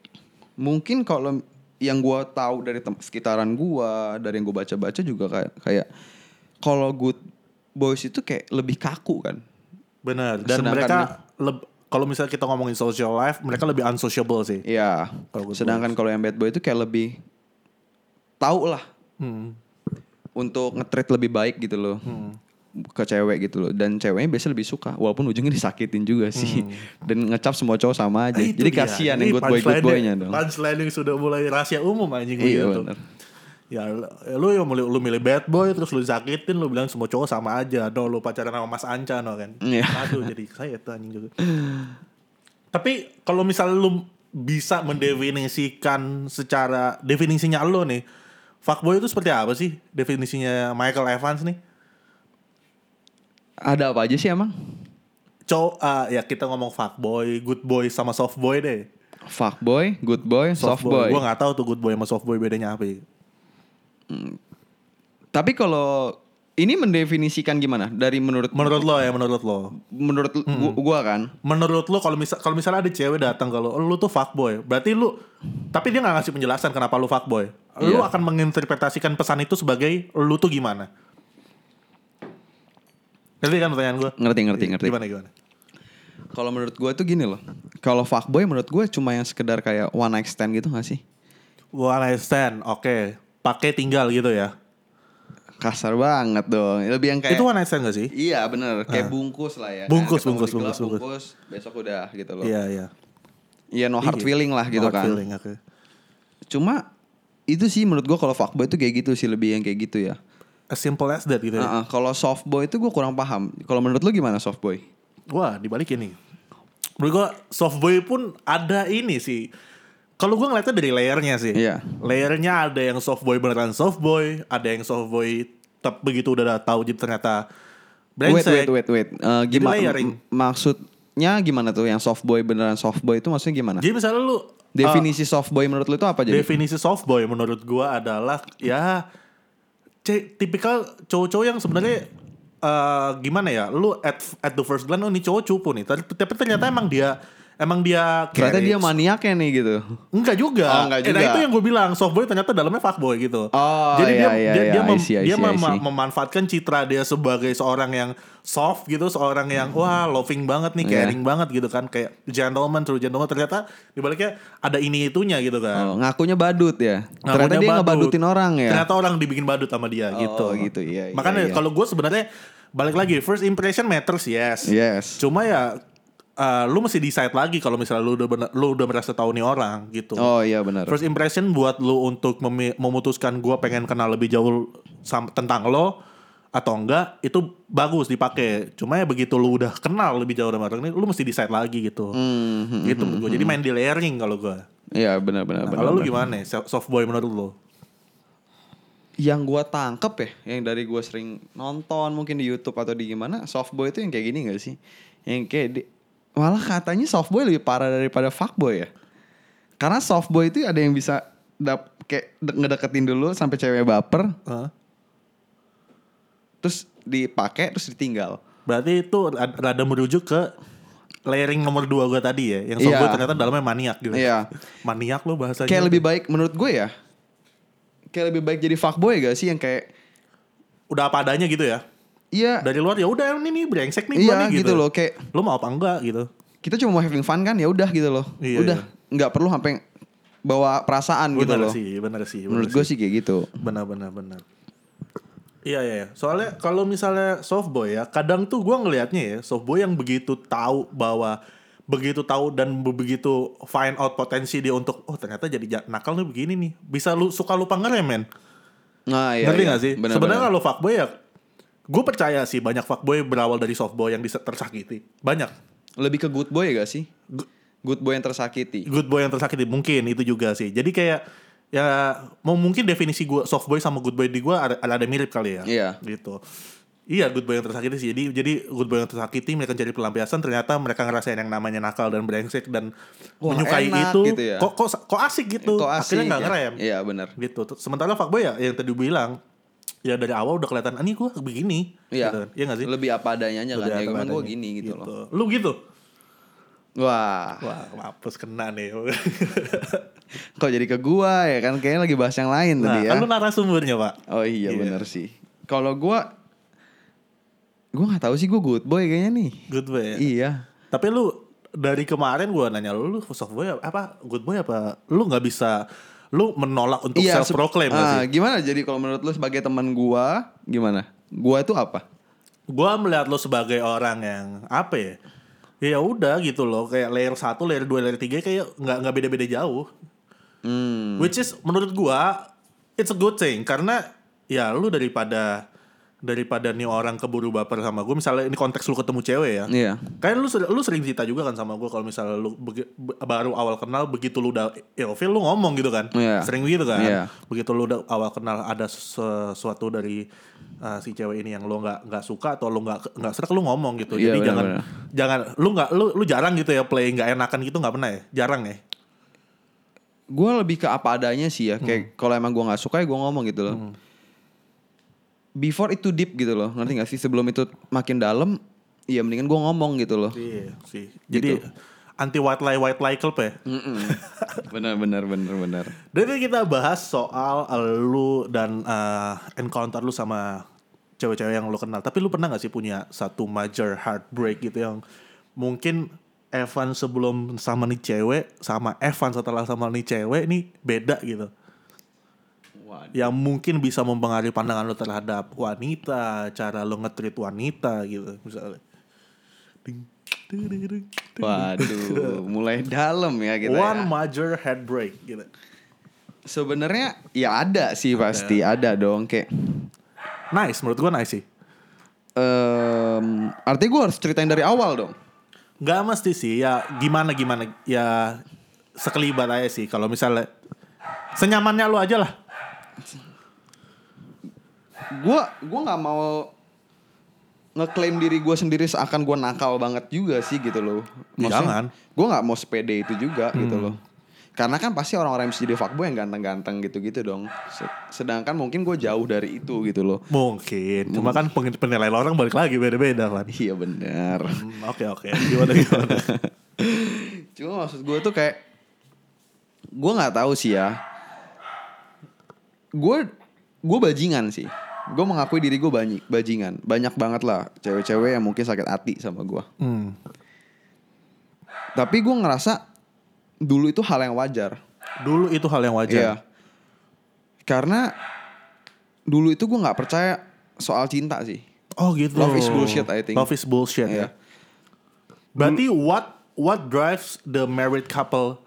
mungkin kalau yang gue tahu dari tem- sekitaran gue, dari yang gue baca-baca juga kayak kayak kalau good boys itu kayak lebih kaku kan. Benar. Dan Sedangkan- mereka leb- kalau misalnya kita ngomongin social life, mereka lebih unsociable sih. Iya. Kalau good Sedangkan kalau yang bad boy itu kayak lebih tahu lah Hmm. untuk ngetreat lebih baik gitu loh ke cewek gitu loh dan ceweknya biasanya lebih suka walaupun ujungnya disakitin juga sih dan ngecap semua cowok sama aja Hmm. Nah, itu jadi dia. kasihan Ini yang good boy good punchline-nya- boynya dong Punchline yang sudah mulai rahasia umum anjing Iya, begitu. benar. ya lu yang milih, lu milih bad boy terus lu sakitin lu bilang semua cowok sama aja no lu pacaran sama mas anca no kan Iya. aduh jadi saya itu anjing juga tapi kalau misalnya lu bisa mendefinisikan secara definisinya lu nih fuckboy itu seperti apa sih definisinya Michael Evans nih Ada apa aja sih emang? cowok ah, ya kita ngomong fuckboy good boy sama soft boy deh Fuckboy, good boy, soft, boy. Gue nggak tahu tuh good boy sama soft boy bedanya apa. ya. Tapi kalau ini mendefinisikan gimana? Dari menurut Menurut Hmm. lo ya, menurut lo. menurut gua, gua kan Menurut lo kalau misal kalau misalnya ada cewek datang kalau lo tuh fuckboy, berarti lu tapi dia nggak ngasih penjelasan kenapa lu fuckboy. Lu Iya. akan menginterpretasikan pesan itu sebagai lu tuh gimana. Ngerti kan pertanyaan gue? ngerti Hmm, ngerti ngerti. Gimana gimana? Kalau menurut gua tuh gini loh. Kalau fuckboy menurut gua cuma yang sekedar kayak one night stand gitu gak sih? One night stand, oke. Pakai tinggal gitu ya. Kasar banget dong. Lebih yang kayak Itu one night stand gak sih? Iya bener, kayak bungkus lah ya. Bungkus, Ketemu bungkus, di gelap, bungkus, bungkus. Besok udah gitu loh. Iya, Iya iya. no Iya. hard feeling lah gitu Hard kan. feeling, oke. Cuma itu sih menurut gua kalau fuckboy itu kayak gitu sih lebih yang kayak gitu ya. As simple as that gitu ya. Heeh, kalau softboy itu gua kurang paham. Kalau menurut lu gimana softboy? Wah, dibalikin nih. Menurut gua softboy pun ada ini sih. Kalau gua ngeliatnya dari layernya sih. Iya. Layernya ada yang softboy beneran softboy, ada yang softboy tep begitu udah tahu jadi ternyata Wait, wait, brengsek. wait, wait. gimana? layering. Maksudnya gimana tuh yang softboy beneran softboy itu maksudnya gimana? Jadi misalnya lu eh, Definisi softboy menurut lu itu apa jadi? Definisi softboy menurut gua adalah ya ce- tipikal cowok-cowok yang sebenarnya eh, gimana ya? Lu at at the first glance oh ini cowok cupu nih. Tapi tapi ternyata emang dia emang dia Ternyata dia carries. maniaknya nih gitu. Enggak juga. Oh, enggak Eh, nah, juga. itu yang gue bilang, softboy ternyata dalamnya fuckboy gitu. Oh, Jadi dia iya, iya, dia, iya. dia, mem- I see, I dia see, I mema- see. memanfaatkan citra dia sebagai seorang yang soft gitu, seorang yang wah loving banget Iya. nih, caring banget gitu kan, kayak gentleman, true gentleman. Ternyata dibaliknya ada ini itunya gitu kan. Oh, ngakunya badut ya. Ngakunya Ternyata dia badut. ngebadutin orang ya. Ternyata orang dibikin badut sama dia Oh, gitu. gitu, iya, iya, Makanya iya. kalau gue sebenarnya balik lagi first impression matters yes. Yes. Cuma ya eh, lu mesti decide lagi kalau misalnya lu udah bener- lu udah merasa tahu nih orang gitu. Oh iya benar. First impression buat lu untuk memi- memutuskan gua pengen kenal lebih jauh sam- tentang lo atau enggak itu bagus dipakai. Cuma ya begitu lu udah kenal lebih jauh sama orang ini lu mesti decide lagi gitu. Hmm, Gitu menurut gua. Jadi main di layering kalau gua. Iya benar Nah, benar benar. kalau lu benar. gimana? ya? So- Soft boy menurut lu? Yang gua tangkep ya, yang dari gua sering nonton mungkin di YouTube atau di gimana, softboy itu yang kayak gini gak sih? Yang kayak di- malah katanya softboy lebih parah daripada fuckboy ya. Karena softboy itu ada yang bisa dap kayak de- ngedeketin dulu sampai cewek baper, Hah? terus dipakai terus ditinggal. Berarti itu rad- rada merujuk ke layering nomor dua gua tadi ya, yang soft Iya. boy ternyata dalamnya maniak gitu. Iya. Maniak lo bahasanya. Kayak lebih baik menurut gue ya. Kayak lebih baik jadi fuckboy gak sih yang kayak udah apa adanya gitu ya. iya Dari luar ya udah ini nih brengsek nih gua iya nih gitu loh kayak Lu mau apa enggak gitu. kita cuma mau having fun kan ya udah gitu loh Iya, udah nggak perlu sampai bawa perasaan gitu Bener loh sih, bener sih. bener menurut gue sih kayak gitu benar benar benar iya iya iya. soalnya kalau misalnya softboy ya kadang tuh gua ngelihatnya ya softboy yang begitu tahu bahwa begitu tahu dan be- begitu find out potensi dia untuk oh ternyata jadi ja- nakal nih begini nih bisa lu suka lupa ngerem men nah iya, ngerti iya. nggak sih Benar, sebenarnya benar. kalau fuckboy ya gue percaya sih banyak fuckboy berawal dari softboy yang dise- tersakiti banyak lebih ke good boy gak sih good boy yang tersakiti good boy yang tersakiti mungkin itu juga sih jadi kayak ya mau mungkin definisi gua soft boy sama good boy di gua ada, ada mirip kali ya Iya. gitu iya good boy yang tersakiti sih jadi jadi good boy yang tersakiti mereka cari pelampiasan ternyata mereka ngerasain yang namanya nakal dan brengsek dan Wah, menyukai enak itu gitu ya. kok, kok kok asik gitu Kok asik, akhirnya nggak ya. ngerem iya benar gitu sementara fuckboy ya yang tadi bilang ya dari awal udah kelihatan ah, ini gua begini iya gitu kan. iya nggak sih lebih apa adanya aja Udah kan ya emang gue adanya. gini gitu, loh lu gitu wah wah mampus kena nih kok jadi ke gua ya kan kayaknya lagi bahas yang lain nah tadi ya kan lu narasumbernya pak oh iya Iya. benar sih kalau gua gua nggak tahu sih gua good boy kayaknya nih Good boy. ya? iya Tapi lu dari kemarin gua nanya lu, lu soft boy apa good boy apa? Lu nggak bisa lu menolak untuk self se- proclaim ah, gak sih? Gimana jadi kalau menurut lu sebagai teman gua gimana? Gua itu apa? Gua melihat lu sebagai orang yang apa ya? Ya udah gitu loh, kayak layer 1, layer 2, layer 3 kayak nggak nggak beda-beda jauh. Hmm. Which is menurut gua it's a good thing karena ya lu daripada daripada nih orang keburu baper sama gue misalnya ini konteks lu ketemu cewek ya Iya. Kayak lu ser- lu sering cerita juga kan sama gue kalau misalnya lu begi- be- baru awal kenal begitu lu udah ilfil lu ngomong gitu kan. Iya. Sering gitu kan. Iya. Begitu lu udah awal kenal ada sesuatu dari uh, si cewek ini yang lu nggak nggak suka atau lu nggak nggak serak lu ngomong gitu. Iya, Jadi benar, jangan benar. jangan lu nggak lu lu jarang gitu ya play nggak enakan gitu nggak pernah ya. Jarang ya. Gue lebih ke apa adanya sih Hmm. ya. Kayak kalau emang gue nggak suka ya gue ngomong gitu loh. Before itu deep gitu loh. Ngerti gak sih? Sebelum itu makin dalam, ya mendingan gue ngomong gitu loh. Iya sih. Jadi Gitu. anti white lie white lie club ya. Mm-mm. bener bener bener bener. Dari kita bahas soal eh, lu dan eh, encounter lu sama cewek-cewek yang lu kenal. Tapi lu pernah gak sih punya satu major heartbreak gitu yang mungkin Evan sebelum sama nih cewek sama Evan setelah sama nih cewek nih beda gitu. Waduh. Yang mungkin bisa mempengaruhi pandangan lu terhadap wanita, cara lu nge-treat wanita gitu misalnya. Ding, ding, ding, ding. Waduh, mulai dalam ya kita. ya. One major heartbreak gitu. Sebenarnya ya ada sih pasti ada dong kayak Nice menurut gua nice sih. em, artinya gue harus ceritain dari awal dong. Gak mesti sih ya gimana gimana ya sekelibat aja sih kalau misalnya senyamannya lu aja lah. Gue gua nggak mau ngeklaim diri gue sendiri seakan gue nakal banget juga sih gitu loh. Jangan. Gue nggak mau sepede itu juga gitu loh. Karena kan pasti orang-orang yang bisa jadi fuckboy yang ganteng-ganteng gitu-gitu dong. Se- Sedangkan mungkin gue jauh dari itu gitu loh. Mungkin cuma kan peng- penilaian orang balik lagi beda-beda kan. Iya bener. Hmm, Oke oke gimana gimana. Cuma maksud gue tuh kayak gue nggak tahu sih ya. Gue gue bajingan sih. Gue mengakui diri gue banyak bajingan. Banyak banget lah cewek-cewek yang mungkin sakit hati sama gue. Hmm. Tapi gue ngerasa dulu itu hal yang wajar. Dulu itu hal yang wajar. Iya. Karena dulu itu gue nggak percaya soal cinta sih. Oh gitu. Love is bullshit, I think. Love is bullshit ya. Iya. Berarti what what drives the married couple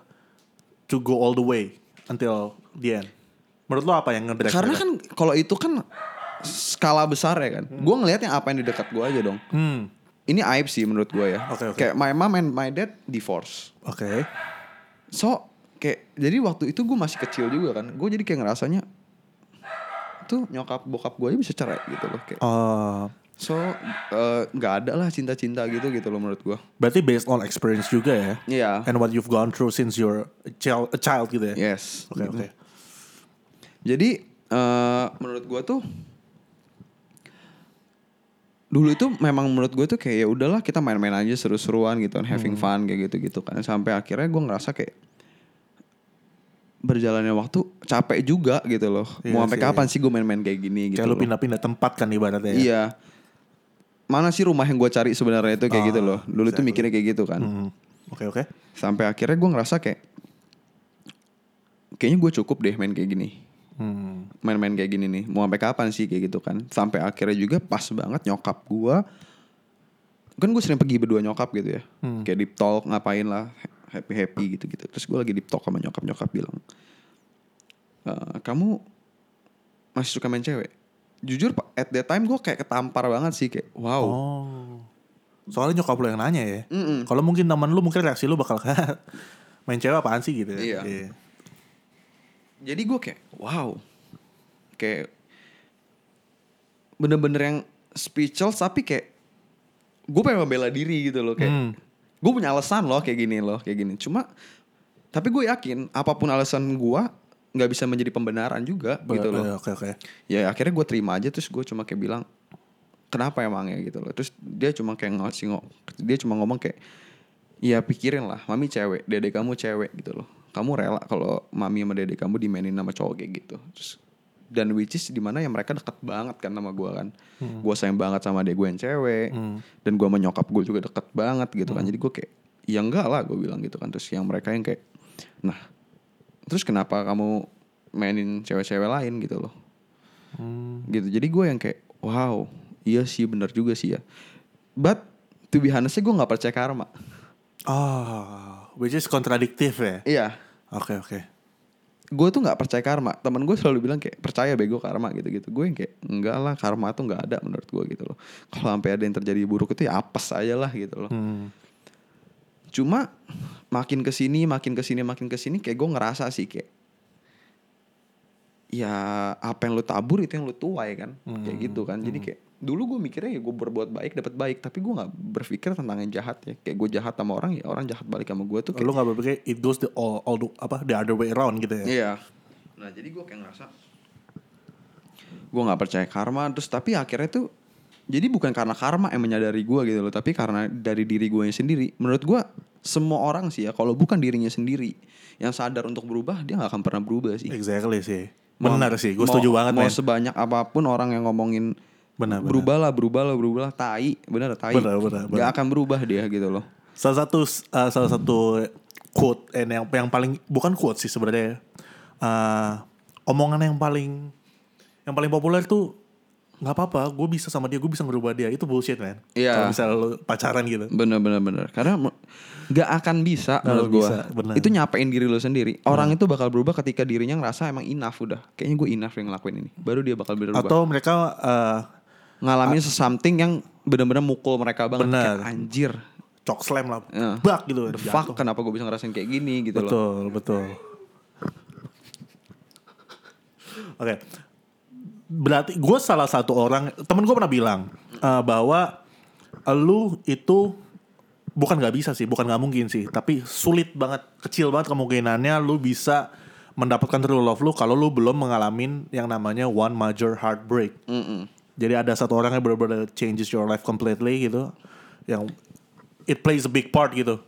to go all the way until the end? Menurut lo apa yang ngedrive? Karena mereka? kan kalau itu kan skala besar ya kan. Gue ngelihatnya apa yang di dekat gue aja dong. hmm. ini aib sih menurut gue ya. Oke, oke. Kayak my mom and my dad divorce. Oke. So kayak jadi waktu itu gue masih kecil juga kan. Gue jadi kayak ngerasanya tuh nyokap bokap gue aja bisa cerai gitu loh. Kayak. Eh, So eh, nggak ada lah cinta-cinta gitu gitu loh menurut gue. Berarti based on experience juga ya. Iya. And what you've gone through since you're a child, a child gitu ya. Yes. Oke oke. Jadi eh, menurut gue tuh dulu itu memang menurut gue tuh kayak ya udahlah kita main-main aja seru-seruan gitu, having Hmm. fun kayak gitu-gitu kan. Sampai akhirnya gue ngerasa kayak berjalannya waktu capek juga gitu loh. Iya Mau sampai sih. kapan sih gue main-main kayak gini gitu. Kayak lu loh. pindah-pindah tempat kan ibaratnya. ya. Iya. Mana sih rumah yang gue cari sebenarnya itu kayak Ah, gitu loh. Dulu tuh mikirnya kayak gitu kan. Hmm. Oke oke. Sampai akhirnya gue ngerasa kayak kayaknya gue cukup deh main kayak gini Hmm. main-main kayak gini nih mau sampai kapan sih kayak gitu kan sampai akhirnya juga pas banget nyokap gua kan gue sering pergi berdua nyokap gitu ya kayak deep talk ngapain lah happy happy gitu gitu terus gue lagi deep talk sama nyokap nyokap bilang "Eh, kamu masih suka main cewek jujur Pak, at that time gue kayak ketampar banget sih kayak wow Oh. Soalnya nyokap lu yang nanya ya. Mm-mm. Kalau mungkin teman lu mungkin reaksi lu bakal "Hah, main cewek apaan sih gitu. Iya. ya. jadi gue kayak wow kayak bener-bener yang speechless tapi kayak gue pengen membela diri gitu loh kayak Hmm. gue punya alasan loh kayak gini loh kayak gini cuma tapi gue yakin apapun alasan gue nggak bisa menjadi pembenaran juga Ber- gitu loh eh, Oke oke. ya akhirnya gue terima aja terus gue cuma kayak bilang kenapa emangnya gitu loh terus dia cuma kayak ngasih ngo- dia cuma ngomong kayak ya pikirin lah mami cewek dede kamu cewek gitu loh kamu rela kalau mami sama dede kamu dimainin sama cowok kayak gitu terus dan which is dimana ya mereka deket banget kan sama gue kan gue sayang banget sama adek gue yang cewek dan gue menyokap gue juga deket banget gitu kan jadi gue kayak ya enggak lah gue bilang gitu kan terus yang mereka yang kayak nah terus kenapa kamu mainin cewek-cewek lain gitu loh gitu jadi gue yang kayak wow iya sih bener juga sih ya but to be honest gue nggak percaya karma Oh, which is kontradiktif ya. iya Oke oke. gue tuh nggak percaya karma temen gue selalu bilang kayak percaya bego karma gitu gitu gue yang kayak enggak lah karma tuh nggak ada menurut gue gitu loh kalau sampai ada yang terjadi buruk itu ya apes aja lah gitu loh cuma makin kesini makin kesini makin kesini kayak gue ngerasa sih kayak ya apa yang lu tabur itu yang lu tuai kan kayak gitu kan jadi kayak dulu gue mikirnya ya gue berbuat baik dapat baik tapi gue nggak berpikir tentang yang jahat ya kayak gue jahat sama orang ya orang jahat balik sama gue tuh kayak Lu nggak berpikir it goes the all, all the, apa the other way around gitu ya? Iya. Nah jadi gue kayak ngerasa gue nggak percaya karma terus tapi akhirnya tuh jadi bukan karena karma yang menyadari gue gitu loh tapi karena dari diri gue sendiri menurut gue semua orang sih ya kalau bukan dirinya sendiri yang sadar untuk berubah dia nggak akan pernah berubah sih Exactly sih. Mau- Iya. Benar sih, gue mau- setuju banget mau men. sebanyak apapun orang yang ngomongin Benar, benar. berubahlah berubahlah berubahlah tai bener tai Benar, benar, benar. Nggak akan berubah dia gitu loh Salah satu uh, salah satu quote and yang yang paling bukan quote sih sebenarnya. ya. Uh, omongan yang paling yang paling populer tuh nggak apa-apa, gue bisa sama dia, gue bisa ngerubah dia. Itu bullshit man. Iya. Kalau bisa lo pacaran gitu. Bener bener bener Karena me- nggak akan bisa Nggak menurut gua bisa, bener. Itu nyapain diri lo sendiri Orang itu bakal berubah ketika dirinya ngerasa emang enough udah Kayaknya gue enough yang ngelakuin ini Baru dia bakal berubah Atau mereka uh, Ngalamin sesamting yang bener-bener mukul mereka banget Bener. Kayak anjir cok slam lah, Iya. bak gitu. The fuck kenapa gue bisa ngerasain kayak gini gitu loh Betul, betul. Oke. Berarti gue salah satu orang, temen gue pernah bilang eh, bahwa lu itu bukan nggak bisa sih, bukan nggak mungkin sih, tapi sulit banget, kecil banget kemungkinannya lu bisa mendapatkan true love lu kalau lu belum mengalami yang namanya one major heartbreak. Mm-mm. Jadi ada satu orang yang benar-benar changes your life completely gitu, yang it plays a big part gitu.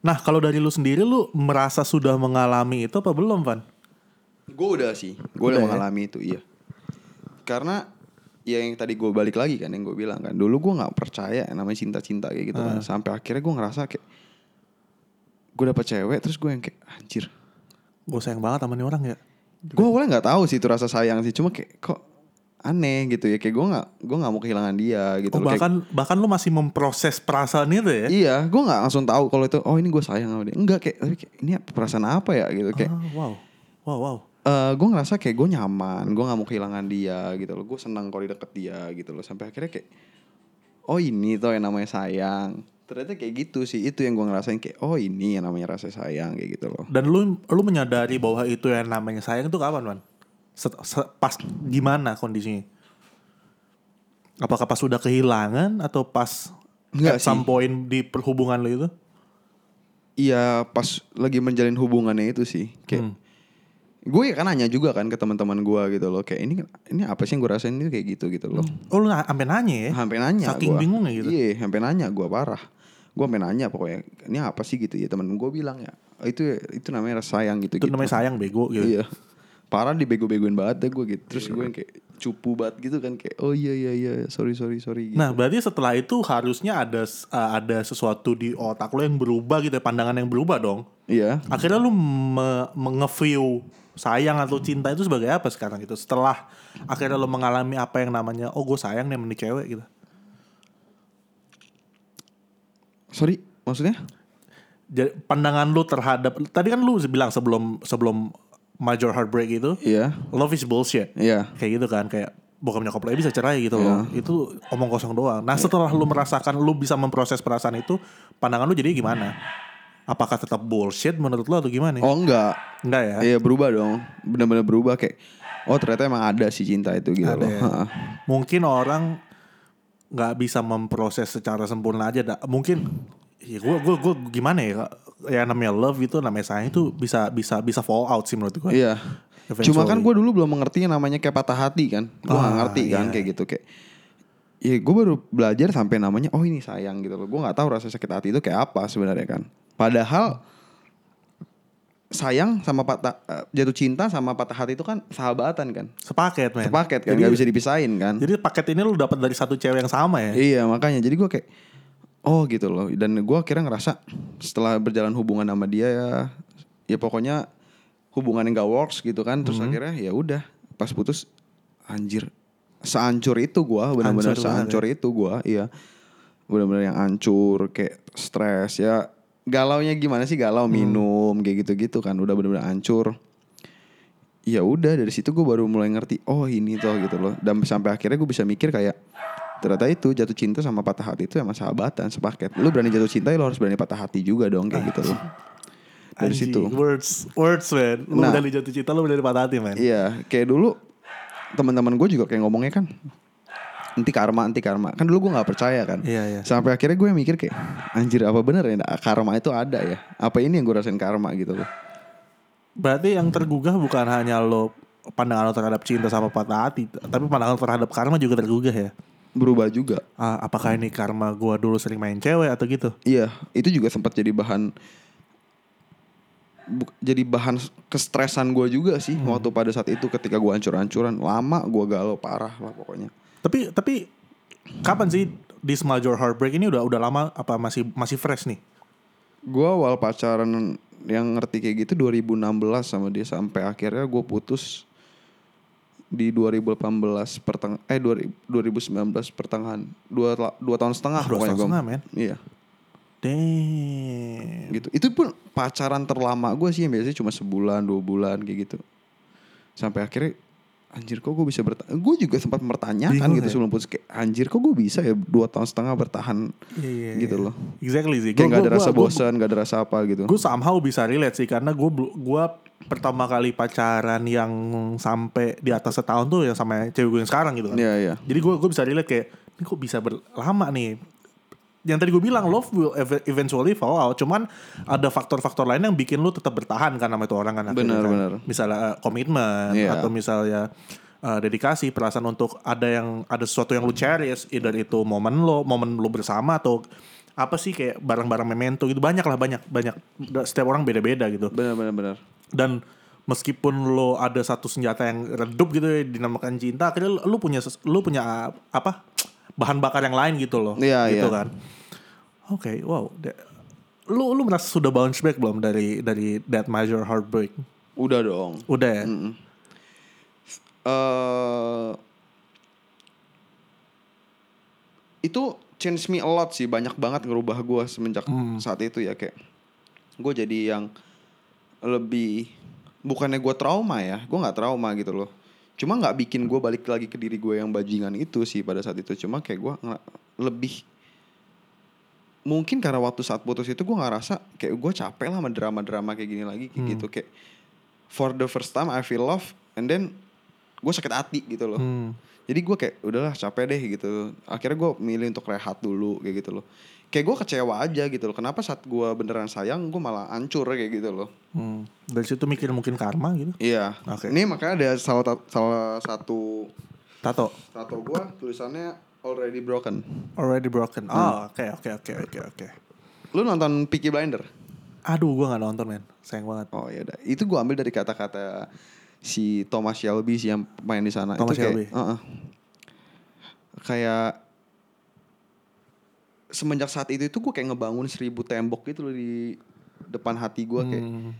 Nah kalau dari lu sendiri, lu merasa sudah mengalami itu apa belum, Van? Gue udah sih, gue udah Udah ya? mengalami itu, iya. Karena ya yang tadi gue balik lagi kan yang gue bilang kan, dulu gue nggak percaya yang namanya cinta-cinta kayak gitu Ah. kan, sampai akhirnya gue ngerasa kayak gue dapet cewek, terus gue yang kayak anjir. Gue sayang banget sama nih orang ya. Gue awalnya nggak tahu sih itu rasa sayang sih, cuma kayak kok aneh gitu ya, kayak gue nggak gue nggak mau kehilangan dia gitu. Oh, loh. Kayak- bahkan bahkan lu masih memproses perasaan itu ya? iya, gue nggak langsung tahu kalau itu oh ini gue sayang sama dia, enggak kayak tapi kayak ini apa- perasaan apa ya gitu kayak. Ah, wow, wow, wow. eh gue ngerasa kayak gue nyaman, gue nggak mau kehilangan dia gitu loh, gue senang kalau di deket dia gitu loh, sampai akhirnya kayak, oh ini tuh yang namanya sayang, ternyata kayak gitu sih, itu yang gue ngerasain kayak, oh ini yang namanya rasa sayang kayak gitu loh. Dan lu lu menyadari bahwa itu yang namanya sayang itu kapan, Van? Set- se- pas gimana kondisinya? Apakah pas sudah kehilangan atau pas Enggak at sih. some point di perhubungan lu itu? Iya pas lagi menjalin hubungannya itu sih, kayak Hmm. gue kan nanya juga kan ke teman-teman gue gitu loh, kayak ini ini apa sih yang gue rasain itu kayak gitu gitu loh. Oh lu na- sampai nanya ya? Hampir nanya Saking gua. bingungnya gitu. Iya, hampir nanya gua parah. Gua sampai nanya pokoknya, ini apa sih gitu ya temen gue bilang ya. "Oh, Itu itu namanya rasa sayang gitu Itu gitu. namanya sayang bego gitu. Iya. Parah dibego-begoin banget deh gue gitu. Iya. Terus gue yang kayak cupu banget gitu kan kayak oh iya iya iya sorry sorry sorry gitu. Nah, berarti setelah itu harusnya ada s- uh, ada sesuatu di otak lo yang berubah gitu, ya, pandangan yang berubah dong. Iya. Akhirnya lu me- menge-view sayang atau cinta itu sebagai apa sekarang gitu? Setelah akhirnya lo mengalami apa yang namanya oh gue sayang nih sama nih cewek gitu. Sorry, maksudnya? Jadi pandangan lu terhadap tadi kan lu bilang sebelum sebelum major heartbreak itu Iya. love is bullshit. Iya. kayak gitu kan kayak bokap nyokap lo aja bisa cerai gitu loh itu omong kosong doang nah setelah lu merasakan lu bisa memproses perasaan itu pandangan lu jadi gimana apakah tetap bullshit menurut lo atau gimana Oh enggak. enggak ya Iya berubah dong. Benar-benar berubah kayak oh ternyata emang ada sih cinta itu gitu Ada loh. ya. Ha-ha. mungkin orang nggak bisa memproses secara sempurna aja dah. mungkin ya gue gue gue gimana ya ya namanya love itu namanya sayang itu bisa bisa bisa fall out sih menurut gue Iya. Eventually. Ah, Cuma kan gue dulu belum mengerti yang namanya kayak patah hati kan. Gue gak ngerti iya. kan kayak gitu kayak. Ya gue baru belajar sampai namanya oh ini sayang gitu loh. Gue nggak tahu rasa sakit hati itu kayak apa sebenarnya kan. Padahal sayang sama patah eh, jatuh cinta sama patah hati itu kan sahabatan kan. sepaket men Sepaket kan Iya. jadi, nggak bisa dipisahin kan. jadi paket ini lu dapat dari satu cewek yang sama ya Iya makanya jadi gue kayak oh gitu loh dan gue akhirnya ngerasa setelah berjalan hubungan sama dia ya ya pokoknya hubungan yang gak works gitu kan terus akhirnya ya udah pas putus anjir seancur itu gue benar-benar Hancur banget ya? seancur itu gue iya benar-benar yang ancur kayak Hmm. stres ya galaunya gimana sih galau minum kayak gitu-gitu kan udah benar-benar ancur ya udah dari situ gue baru mulai ngerti oh ini toh gitu loh dan sampai akhirnya gue bisa mikir kayak ternyata itu jatuh cinta sama patah hati itu emang sahabatan sepaket lu berani jatuh cinta ya lu harus berani patah hati juga dong kayak gitu loh dari Anjing, situ Words, words man. Lu Nah. dari jatuh cinta, lu dari patah hati man. Iya, kayak dulu teman-teman gue juga kayak ngomongnya kan anti karma, anti karma. Kan dulu gue nggak percaya kan. Iya, iya. Sampai akhirnya gue mikir kayak anjir apa bener ya karma itu ada ya? Apa ini yang gue rasain karma gitu loh. Berarti yang tergugah bukan hanya lo pandangan lo terhadap cinta sama patah hati, tapi pandangan lo terhadap karma juga tergugah ya. Berubah juga. Ah, apakah ini karma gua dulu sering main cewek atau gitu? Iya, itu juga sempat jadi bahan bu- jadi bahan s- kestresan gue juga sih Hmm. waktu pada saat itu ketika gue hancur-hancuran lama gue galau parah lah pokoknya Tapi tapi kapan sih This Major Heartbreak ini udah udah lama apa masih masih fresh nih? Gue awal pacaran yang ngerti kayak gitu 2016 sama dia sampai akhirnya gue putus di 2018 perteng eh 2000 2019 pertengahan dua la- dua tahun Ah, setengah dua pokoknya tahun gua- setengah, men. iya Damn. gitu itu pun pacaran terlama gue sih yang biasanya cuma sebulan dua bulan kayak gitu sampai akhirnya anjir kok gue bisa bertahan gue juga sempat mertanyakan Bingung gitu ya? sebelum putus kayak anjir kok gue bisa ya dua tahun setengah bertahan Iya, iya, gitu iya. loh Exactly sih. kayak Gua- gak ada gua- rasa gua- gua- bosan gak ada rasa apa gitu gue somehow bisa relate sih karena gue gue pertama kali pacaran yang sampai di atas setahun tuh yang sama cewek gue yang sekarang gitu kan. Iya, iya. Jadi gue gue bisa relate kayak ini kok bisa berlama nih. Yang tadi gue bilang love will ev- eventually fall out. Cuman ada faktor-faktor lain yang bikin lu tetap bertahan kan sama itu orang kan. akhirnya Benar, kan. benar. Misalnya eh, komitmen Iya. atau misalnya eh, dedikasi perasaan untuk ada yang ada sesuatu yang lu cherish either itu momen lo momen lo bersama atau apa sih kayak barang-barang memento gitu banyak lah banyak banyak setiap orang beda-beda gitu benar benar benar dan meskipun lo ada satu senjata yang redup gitu ya dinamakan cinta akhirnya lo punya ses- lo punya uh, apa bahan bakar yang lain gitu loh Iya, gitu iya. kan oke wow Da- lu lu merasa sudah bounce back belum dari dari that major heartbreak Udah dong. udah ya Hmm. eh itu change me a lot sih, banyak banget ngerubah gue semenjak saat itu ya kayak gue jadi yang lebih bukannya gue trauma ya, gue nggak trauma gitu loh. Cuma nggak bikin gue balik lagi ke diri gue yang bajingan itu sih pada saat itu. Cuma kayak gue lebih mungkin karena waktu saat putus itu gue ngerasa kayak gue capek lah sama drama-drama kayak gini lagi kayak gitu kayak for the first time I feel love and then gue sakit hati gitu loh Hmm. jadi gue kayak udahlah capek deh gitu akhirnya gue milih untuk rehat dulu kayak gitu loh kayak gue kecewa aja gitu loh kenapa saat gue beneran sayang gue malah hancur kayak gitu loh Hmm. dari situ mikir mungkin karma gitu iya Oke. ini makanya ada salah ta- salah satu tato tato gue tulisannya already broken already broken oh oke oke oke oke oke lu nonton Peaky Blinder aduh gua nggak nonton men sayang banget Oh ya udah. Itu gua ambil dari kata-kata si Thomas Shelby sih yang main di sana. Thomas itu kayak, Shelby. Heeh. Kayak semenjak saat itu itu gue kayak ngebangun seribu tembok gitu loh di depan hati gua kayak. Hmm.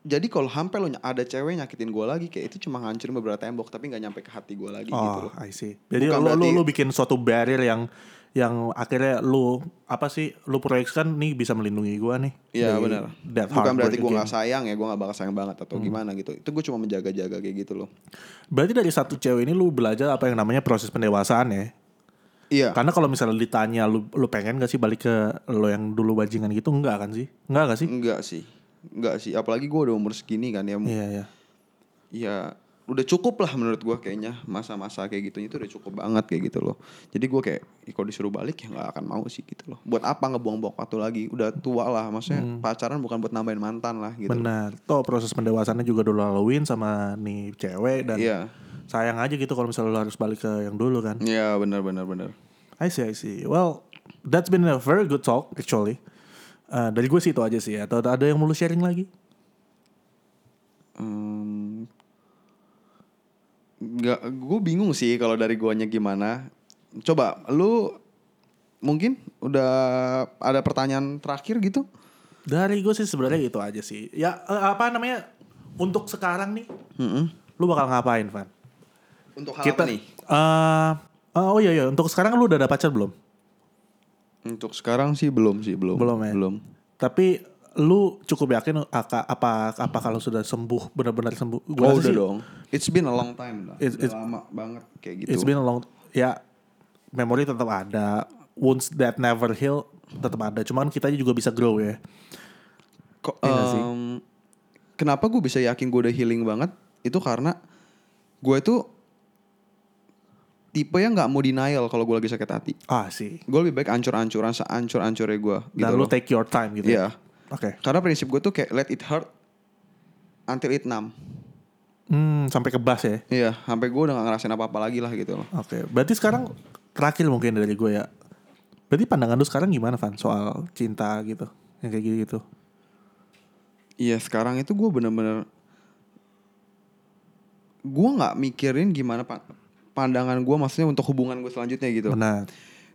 Jadi kalau sampai lo ny- ada cewek nyakitin gua lagi kayak itu cuma ngancurin beberapa tembok tapi nggak nyampe ke hati gua lagi gitu Oh, loh. I see. Jadi Bukan lu, lu berarti- lu bikin suatu barrier yang yang akhirnya lu apa sih lu proyeksikan nih bisa melindungi gua nih. Iya dari benar. that Bukan berarti heartbreak gua again. nggak sayang ya, gua nggak bakal sayang banget Hmm. atau gimana gitu. Itu gue cuma menjaga-jaga kayak gitu loh. Berarti dari satu cewek ini lu belajar apa yang namanya proses pendewasaan ya. Iya. Karena kalau misalnya ditanya lu lu pengen gak sih balik ke lo yang dulu bajingan gitu enggak kan sih? Enggak gak sih? Enggak sih. Enggak sih, apalagi gue udah umur segini kan ya. Iya, iya. Ya udah cukup lah menurut gue kayaknya masa-masa kayak gitunya itu udah cukup banget kayak gitu loh. Jadi gue kayak "Ih, kalau disuruh balik ya nggak akan mau sih gitu loh. Buat apa ngebuang-buang waktu lagi? Udah tua lah, maksudnya pacaran bukan buat nambahin mantan lah gitu. Benar. Toh proses pendewasannya juga dulu laluin sama nih cewek dan Iya. sayang aja gitu kalau misalnya lu harus balik ke yang dulu kan. Iya benar benar benar. I see, I see. Well, that's been a very good talk actually. Uh, dari gue sih itu aja sih. Atau ada yang mau lu sharing lagi? Hmm, nggak, gue bingung sih kalau dari guanya gimana. Coba lu mungkin udah ada pertanyaan terakhir gitu? Dari gue sih sebenarnya itu aja sih. Ya eh, apa namanya? Untuk sekarang nih, Mm-mm. lu bakal ngapain, Van? Untuk hal Kita apa nih? Eh, eh, oh iya iya, untuk sekarang lu udah ada pacar belum? Untuk sekarang sih belum sih belum. Belum ya? Belum. Tapi lu cukup yakin aka- apa apa kalau sudah sembuh benar-benar sembuh? Gua Oh rasa udah sih dong. It's been a long time lah. It's- udah it's- lama banget kayak gitu. It's been a long ya memori tetap ada. Wounds that never heal tetap ada. Cuman kita juga bisa grow ya. Ko- Iya nggak sih? em, kenapa gue bisa yakin gue udah healing banget? Itu karena gue itu tipe yang nggak mau denial kalau gue lagi sakit hati. Ah sih. Gue lebih baik ancur-ancuran, seancur-ancurnya gue. Gitu Dan lu loh. take your time gitu. Iya. ya. Oke. Karena prinsip gue tuh kayak let it hurt until it numb. Hmm, sampai kebas ya. Iya, sampai gue udah gak ngerasain apa-apa lagi lah gitu loh. Oke, berarti sekarang terakhir mungkin dari gue ya. Berarti pandangan lu sekarang gimana Van soal cinta gitu, yang kayak gitu gitu. Iya, sekarang itu gue bener-bener gue nggak mikirin gimana pa- pandangan gue maksudnya untuk hubungan gue selanjutnya gitu. Benar.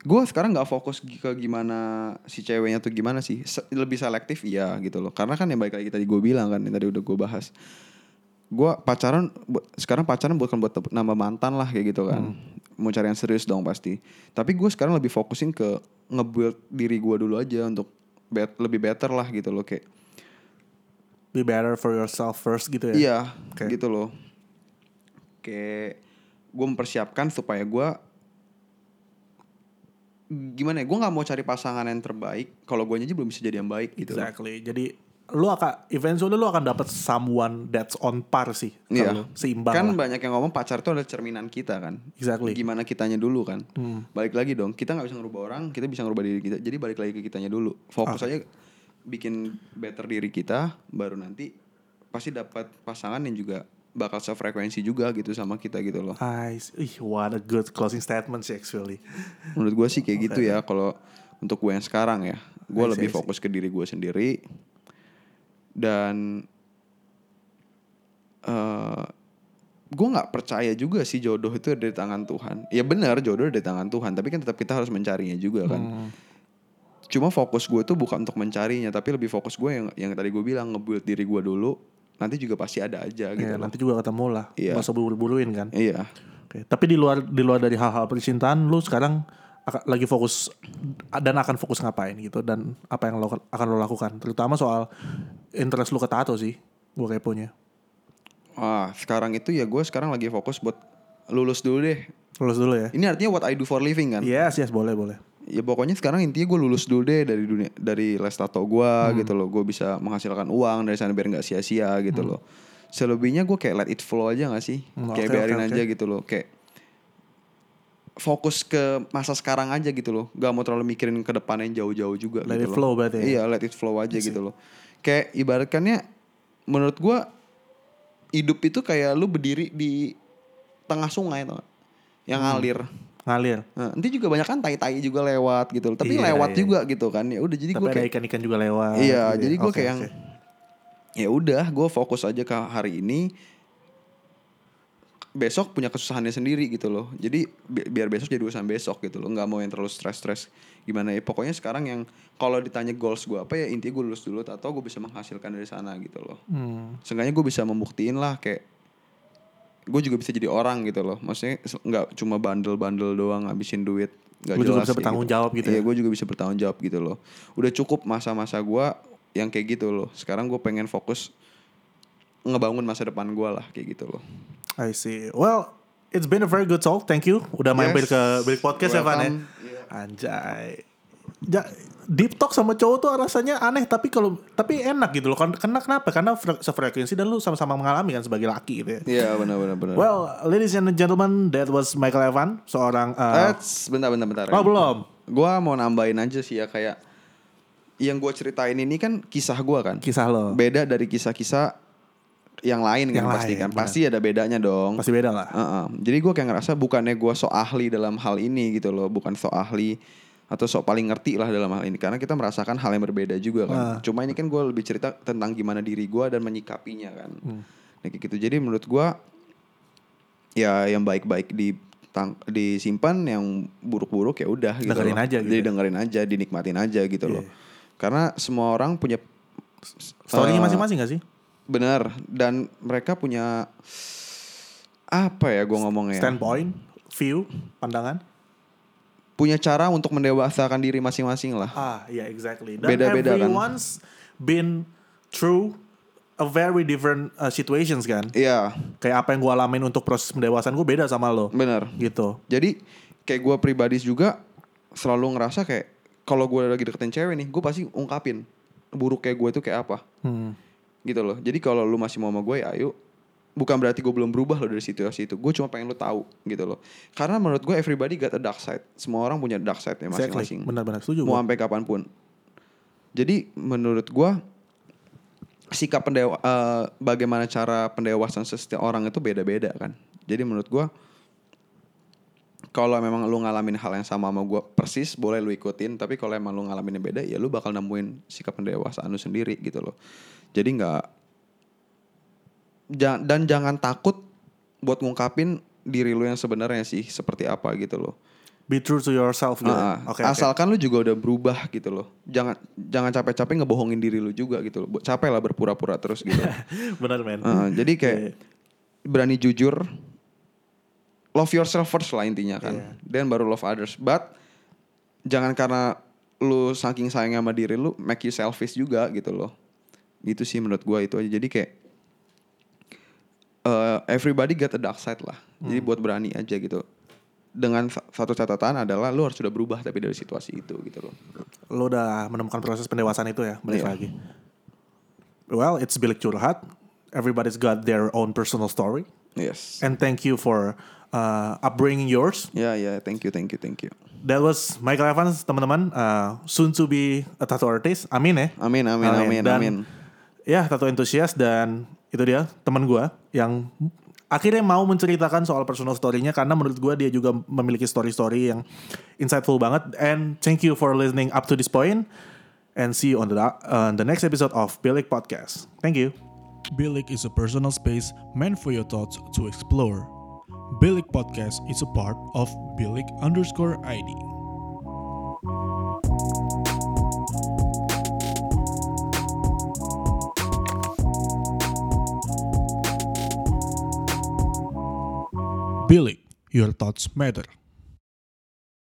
Gue sekarang nggak fokus gi- ke gimana si ceweknya tuh gimana sih. Se- lebih selektif iya gitu loh. Karena kan yang balik lagi tadi gue bilang kan, yang tadi udah gue bahas. Gue pacaran bu- sekarang pacaran bukan buat tep- nambah mantan lah kayak gitu kan. Mau cari yang serius dong pasti. Tapi gue sekarang lebih fokusin ke nge-build diri gue dulu aja untuk bet- lebih better lah gitu loh kayak. Be better for yourself first gitu ya. Iya, Oke. gitu loh. Kayak gue mempersiapkan supaya gue gimana ya? Gue nggak mau cari pasangan yang terbaik. Kalau gue aja belum bisa jadi yang baik gitu. loh. Exactly. Jadi lu akan eventually lu akan dapat someone that's on par sih. Iya. Kalau Seimbang Kan lah. banyak yang ngomong pacar itu adalah cerminan kita kan. Exactly. Gimana kitanya dulu kan. Balik lagi dong. Kita nggak bisa ngerubah orang, kita bisa ngerubah diri kita. Jadi balik lagi ke kitanya dulu. Fokus aja bikin better diri kita, baru nanti pasti dapat pasangan yang juga bakal sefrekuensi juga gitu sama kita gitu loh. I see. Ih, what a good closing statement sih actually. Menurut gue sih kayak gitu ya kalau untuk gue yang sekarang ya. Gue I see, I lebih see. fokus ke diri gue sendiri dan eh gue nggak percaya juga sih jodoh itu ada di tangan Tuhan. Ya benar jodoh ada di tangan Tuhan, tapi kan tetap kita harus mencarinya juga kan. Hmm. Cuma fokus gue tuh bukan untuk mencarinya, tapi lebih fokus gue yang yang tadi gue bilang nge-build diri gue dulu. Nanti juga pasti ada aja gitu. Iya, loh. nanti juga ketemu lah. Iya. Nggak usah buru-buruin kan. Iya. Oke, tapi di luar di luar dari hal-hal percintaan lu sekarang ak- lagi fokus dan akan fokus ngapain gitu dan apa yang lo akan lo lakukan terutama soal interest lu ke tato sih gue keponya Ah, sekarang itu ya gue sekarang lagi fokus buat lulus dulu deh lulus dulu ya Ini artinya what I do for living kan? yes yes boleh boleh Ya pokoknya sekarang intinya gue lulus dulu deh dari dunia dari les tato gue Hmm. gitu loh. Gue bisa menghasilkan uang dari sana biar nggak sia-sia gitu loh. Selebihnya gue kayak let it flow aja gak sih? Hmm, kayak oke, biarin oke, aja gitu loh. Kayak fokus ke masa sekarang aja gitu loh. Gak mau terlalu mikirin ke depannya yang jauh-jauh juga Let gitu it loh. flow berarti ya? Iya let it flow aja gitu loh. Kayak ibaratkannya menurut gue hidup itu kayak lu berdiri di tengah sungai tuh yang Hmm. ngalir. ngalir Nah, nanti juga banyak kan tai-tai juga lewat gitu loh. Tapi Iya, lewat iya, juga gitu kan. Ya udah jadi tapi gue ada kayak ikan-ikan juga lewat iya, gitu ya. jadi gue Oke, kayak yang oke. ya udah gue fokus aja ke hari ini besok punya kesusahannya sendiri gitu loh. Jadi bi- biar besok jadi urusan besok gitu loh. nggak mau yang terlalu stres-stres gimana ya. Pokoknya sekarang yang kalau ditanya goals gue apa ya intinya gue lulus dulu atau gue bisa menghasilkan dari sana gitu loh. Hmm, Seenggaknya gue bisa membuktiin lah kayak gue juga bisa jadi orang gitu loh. Maksudnya se- nggak cuma bandel-bandel doang ngabisin duit. Gak Lu juga bisa jelas kayak bertanggung jawab gitu Iya ya? gue juga bisa bertanggung jawab gitu loh. Udah cukup masa-masa gue yang kayak gitu loh. Sekarang gue pengen fokus ngebangun masa depan gue lah kayak gitu loh. I see well it's been a very good talk thank you udah mampir Yes. ke bilik podcast ya Van ya Welcome. Iya. anjay Ja- deep talk sama cowok tuh rasanya aneh tapi kalau tapi enak gitu loh Kan- karena kenapa karena fre- sefrekuensi dan lu sama-sama mengalami kan sebagai laki gitu ya Iya benar-benar benar. well ladies and gentlemen that was Michael Evan seorang uh, That's bentar bentar bentar. oh belum Gue mau nambahin aja sih ya kayak yang gue ceritain ini kan kisah gue kan. kisah lo beda dari kisah-kisah yang lain Yang kan pasti lain, kan benar. pasti ada bedanya dong pasti beda lah Heeh. jadi gue kayak ngerasa bukannya gue sok ahli dalam hal ini gitu loh bukan sok ahli atau sok paling ngerti lah dalam hal ini karena kita merasakan hal yang berbeda juga kan cuma ini kan gue lebih cerita tentang gimana diri gue dan menyikapinya kan Hmm. nah kayak gitu jadi menurut gue ya yang baik-baik di tang- disimpan yang buruk-buruk ya udah gitu Dengerin loh. aja gitu. Iya. jadi dengerin aja dinikmatin aja gitu loh karena semua orang punya storynya Eh, masing-masing gak sih Bener dan mereka punya apa ya gue ngomongnya? standpoint view pandangan Punya cara untuk mendewasakan diri masing-masing lah. ah iya exactly Beda-beda kan? everyone's been through a very different uh, situations kan. Iya, Kayak apa yang gue alamin untuk proses pendewasaan gue beda sama lo. benar. Gitu. Jadi kayak gue pribadi juga selalu ngerasa kayak kalau gue lagi deketin cewek nih, gue pasti ungkapin buruk kayak gue itu kayak apa Hmm. gitu loh. Jadi kalau lu masih mau sama gue, ya ayo. Bukan berarti gue belum berubah loh dari situasi itu. Gue cuma pengen lu tahu gitu loh. Karena menurut gue everybody got a dark side. Semua orang punya dark side-nya Exactly. masing-masing. Benar-benar setuju. gua. Mau sampai kapanpun. Jadi menurut gua sikap pendewa eh, bagaimana cara pendewasaan setiap orang itu beda-beda kan. Jadi menurut gua kalau memang lu ngalamin hal yang sama sama gua persis boleh lu ikutin tapi kalau emang lu ngalamin yang beda ya lu bakal nemuin sikap pendewasaan lu sendiri gitu loh. Jadi nggak Ja- dan jangan takut buat ngungkapin diri lu yang sebenarnya sih seperti apa gitu loh. Be true to yourself gitu. Ah, Oke. oke. asalkan lu juga udah berubah gitu loh. Jangan jangan capek-capek ngebohongin diri lu juga gitu loh. Bu- Capek lah berpura-pura terus gitu. Benar men. Ah, jadi kayak Iya. berani jujur. Love yourself first lah intinya kan. Iya. Dan baru love others. But jangan karena lu saking sayang sama diri lu make you selfish juga gitu loh. Gitu sih menurut gua itu aja. Jadi kayak eh, everybody got a dark side lah. Jadi Hmm. buat berani aja gitu. Dengan sa- satu catatan adalah lu harus sudah berubah tapi dari situasi itu gitu loh. lo udah menemukan proses pendewasaan itu ya balik Iya. lagi well it's bilik curhat everybody's got their own personal story Yes. and thank you for uh, upbringing yours Ya ya, thank you, thank you, thank you. that was Michael Evans teman-teman uh, soon to be a tattoo artist amin ya Amin, amin, amin, dan amin. ya tattoo enthusiast dan itu dia teman gua yang akhirnya mau menceritakan soal personal story-nya karena menurut gua dia juga memiliki story-story yang insightful banget and thank you for listening up to this point and see you on the uh, on the next episode of Bilik Podcast thank you Bilik is a personal space meant for your thoughts to explore. Bilik Podcast is a part of Bilik underscore ID. Bilik, your thoughts matter.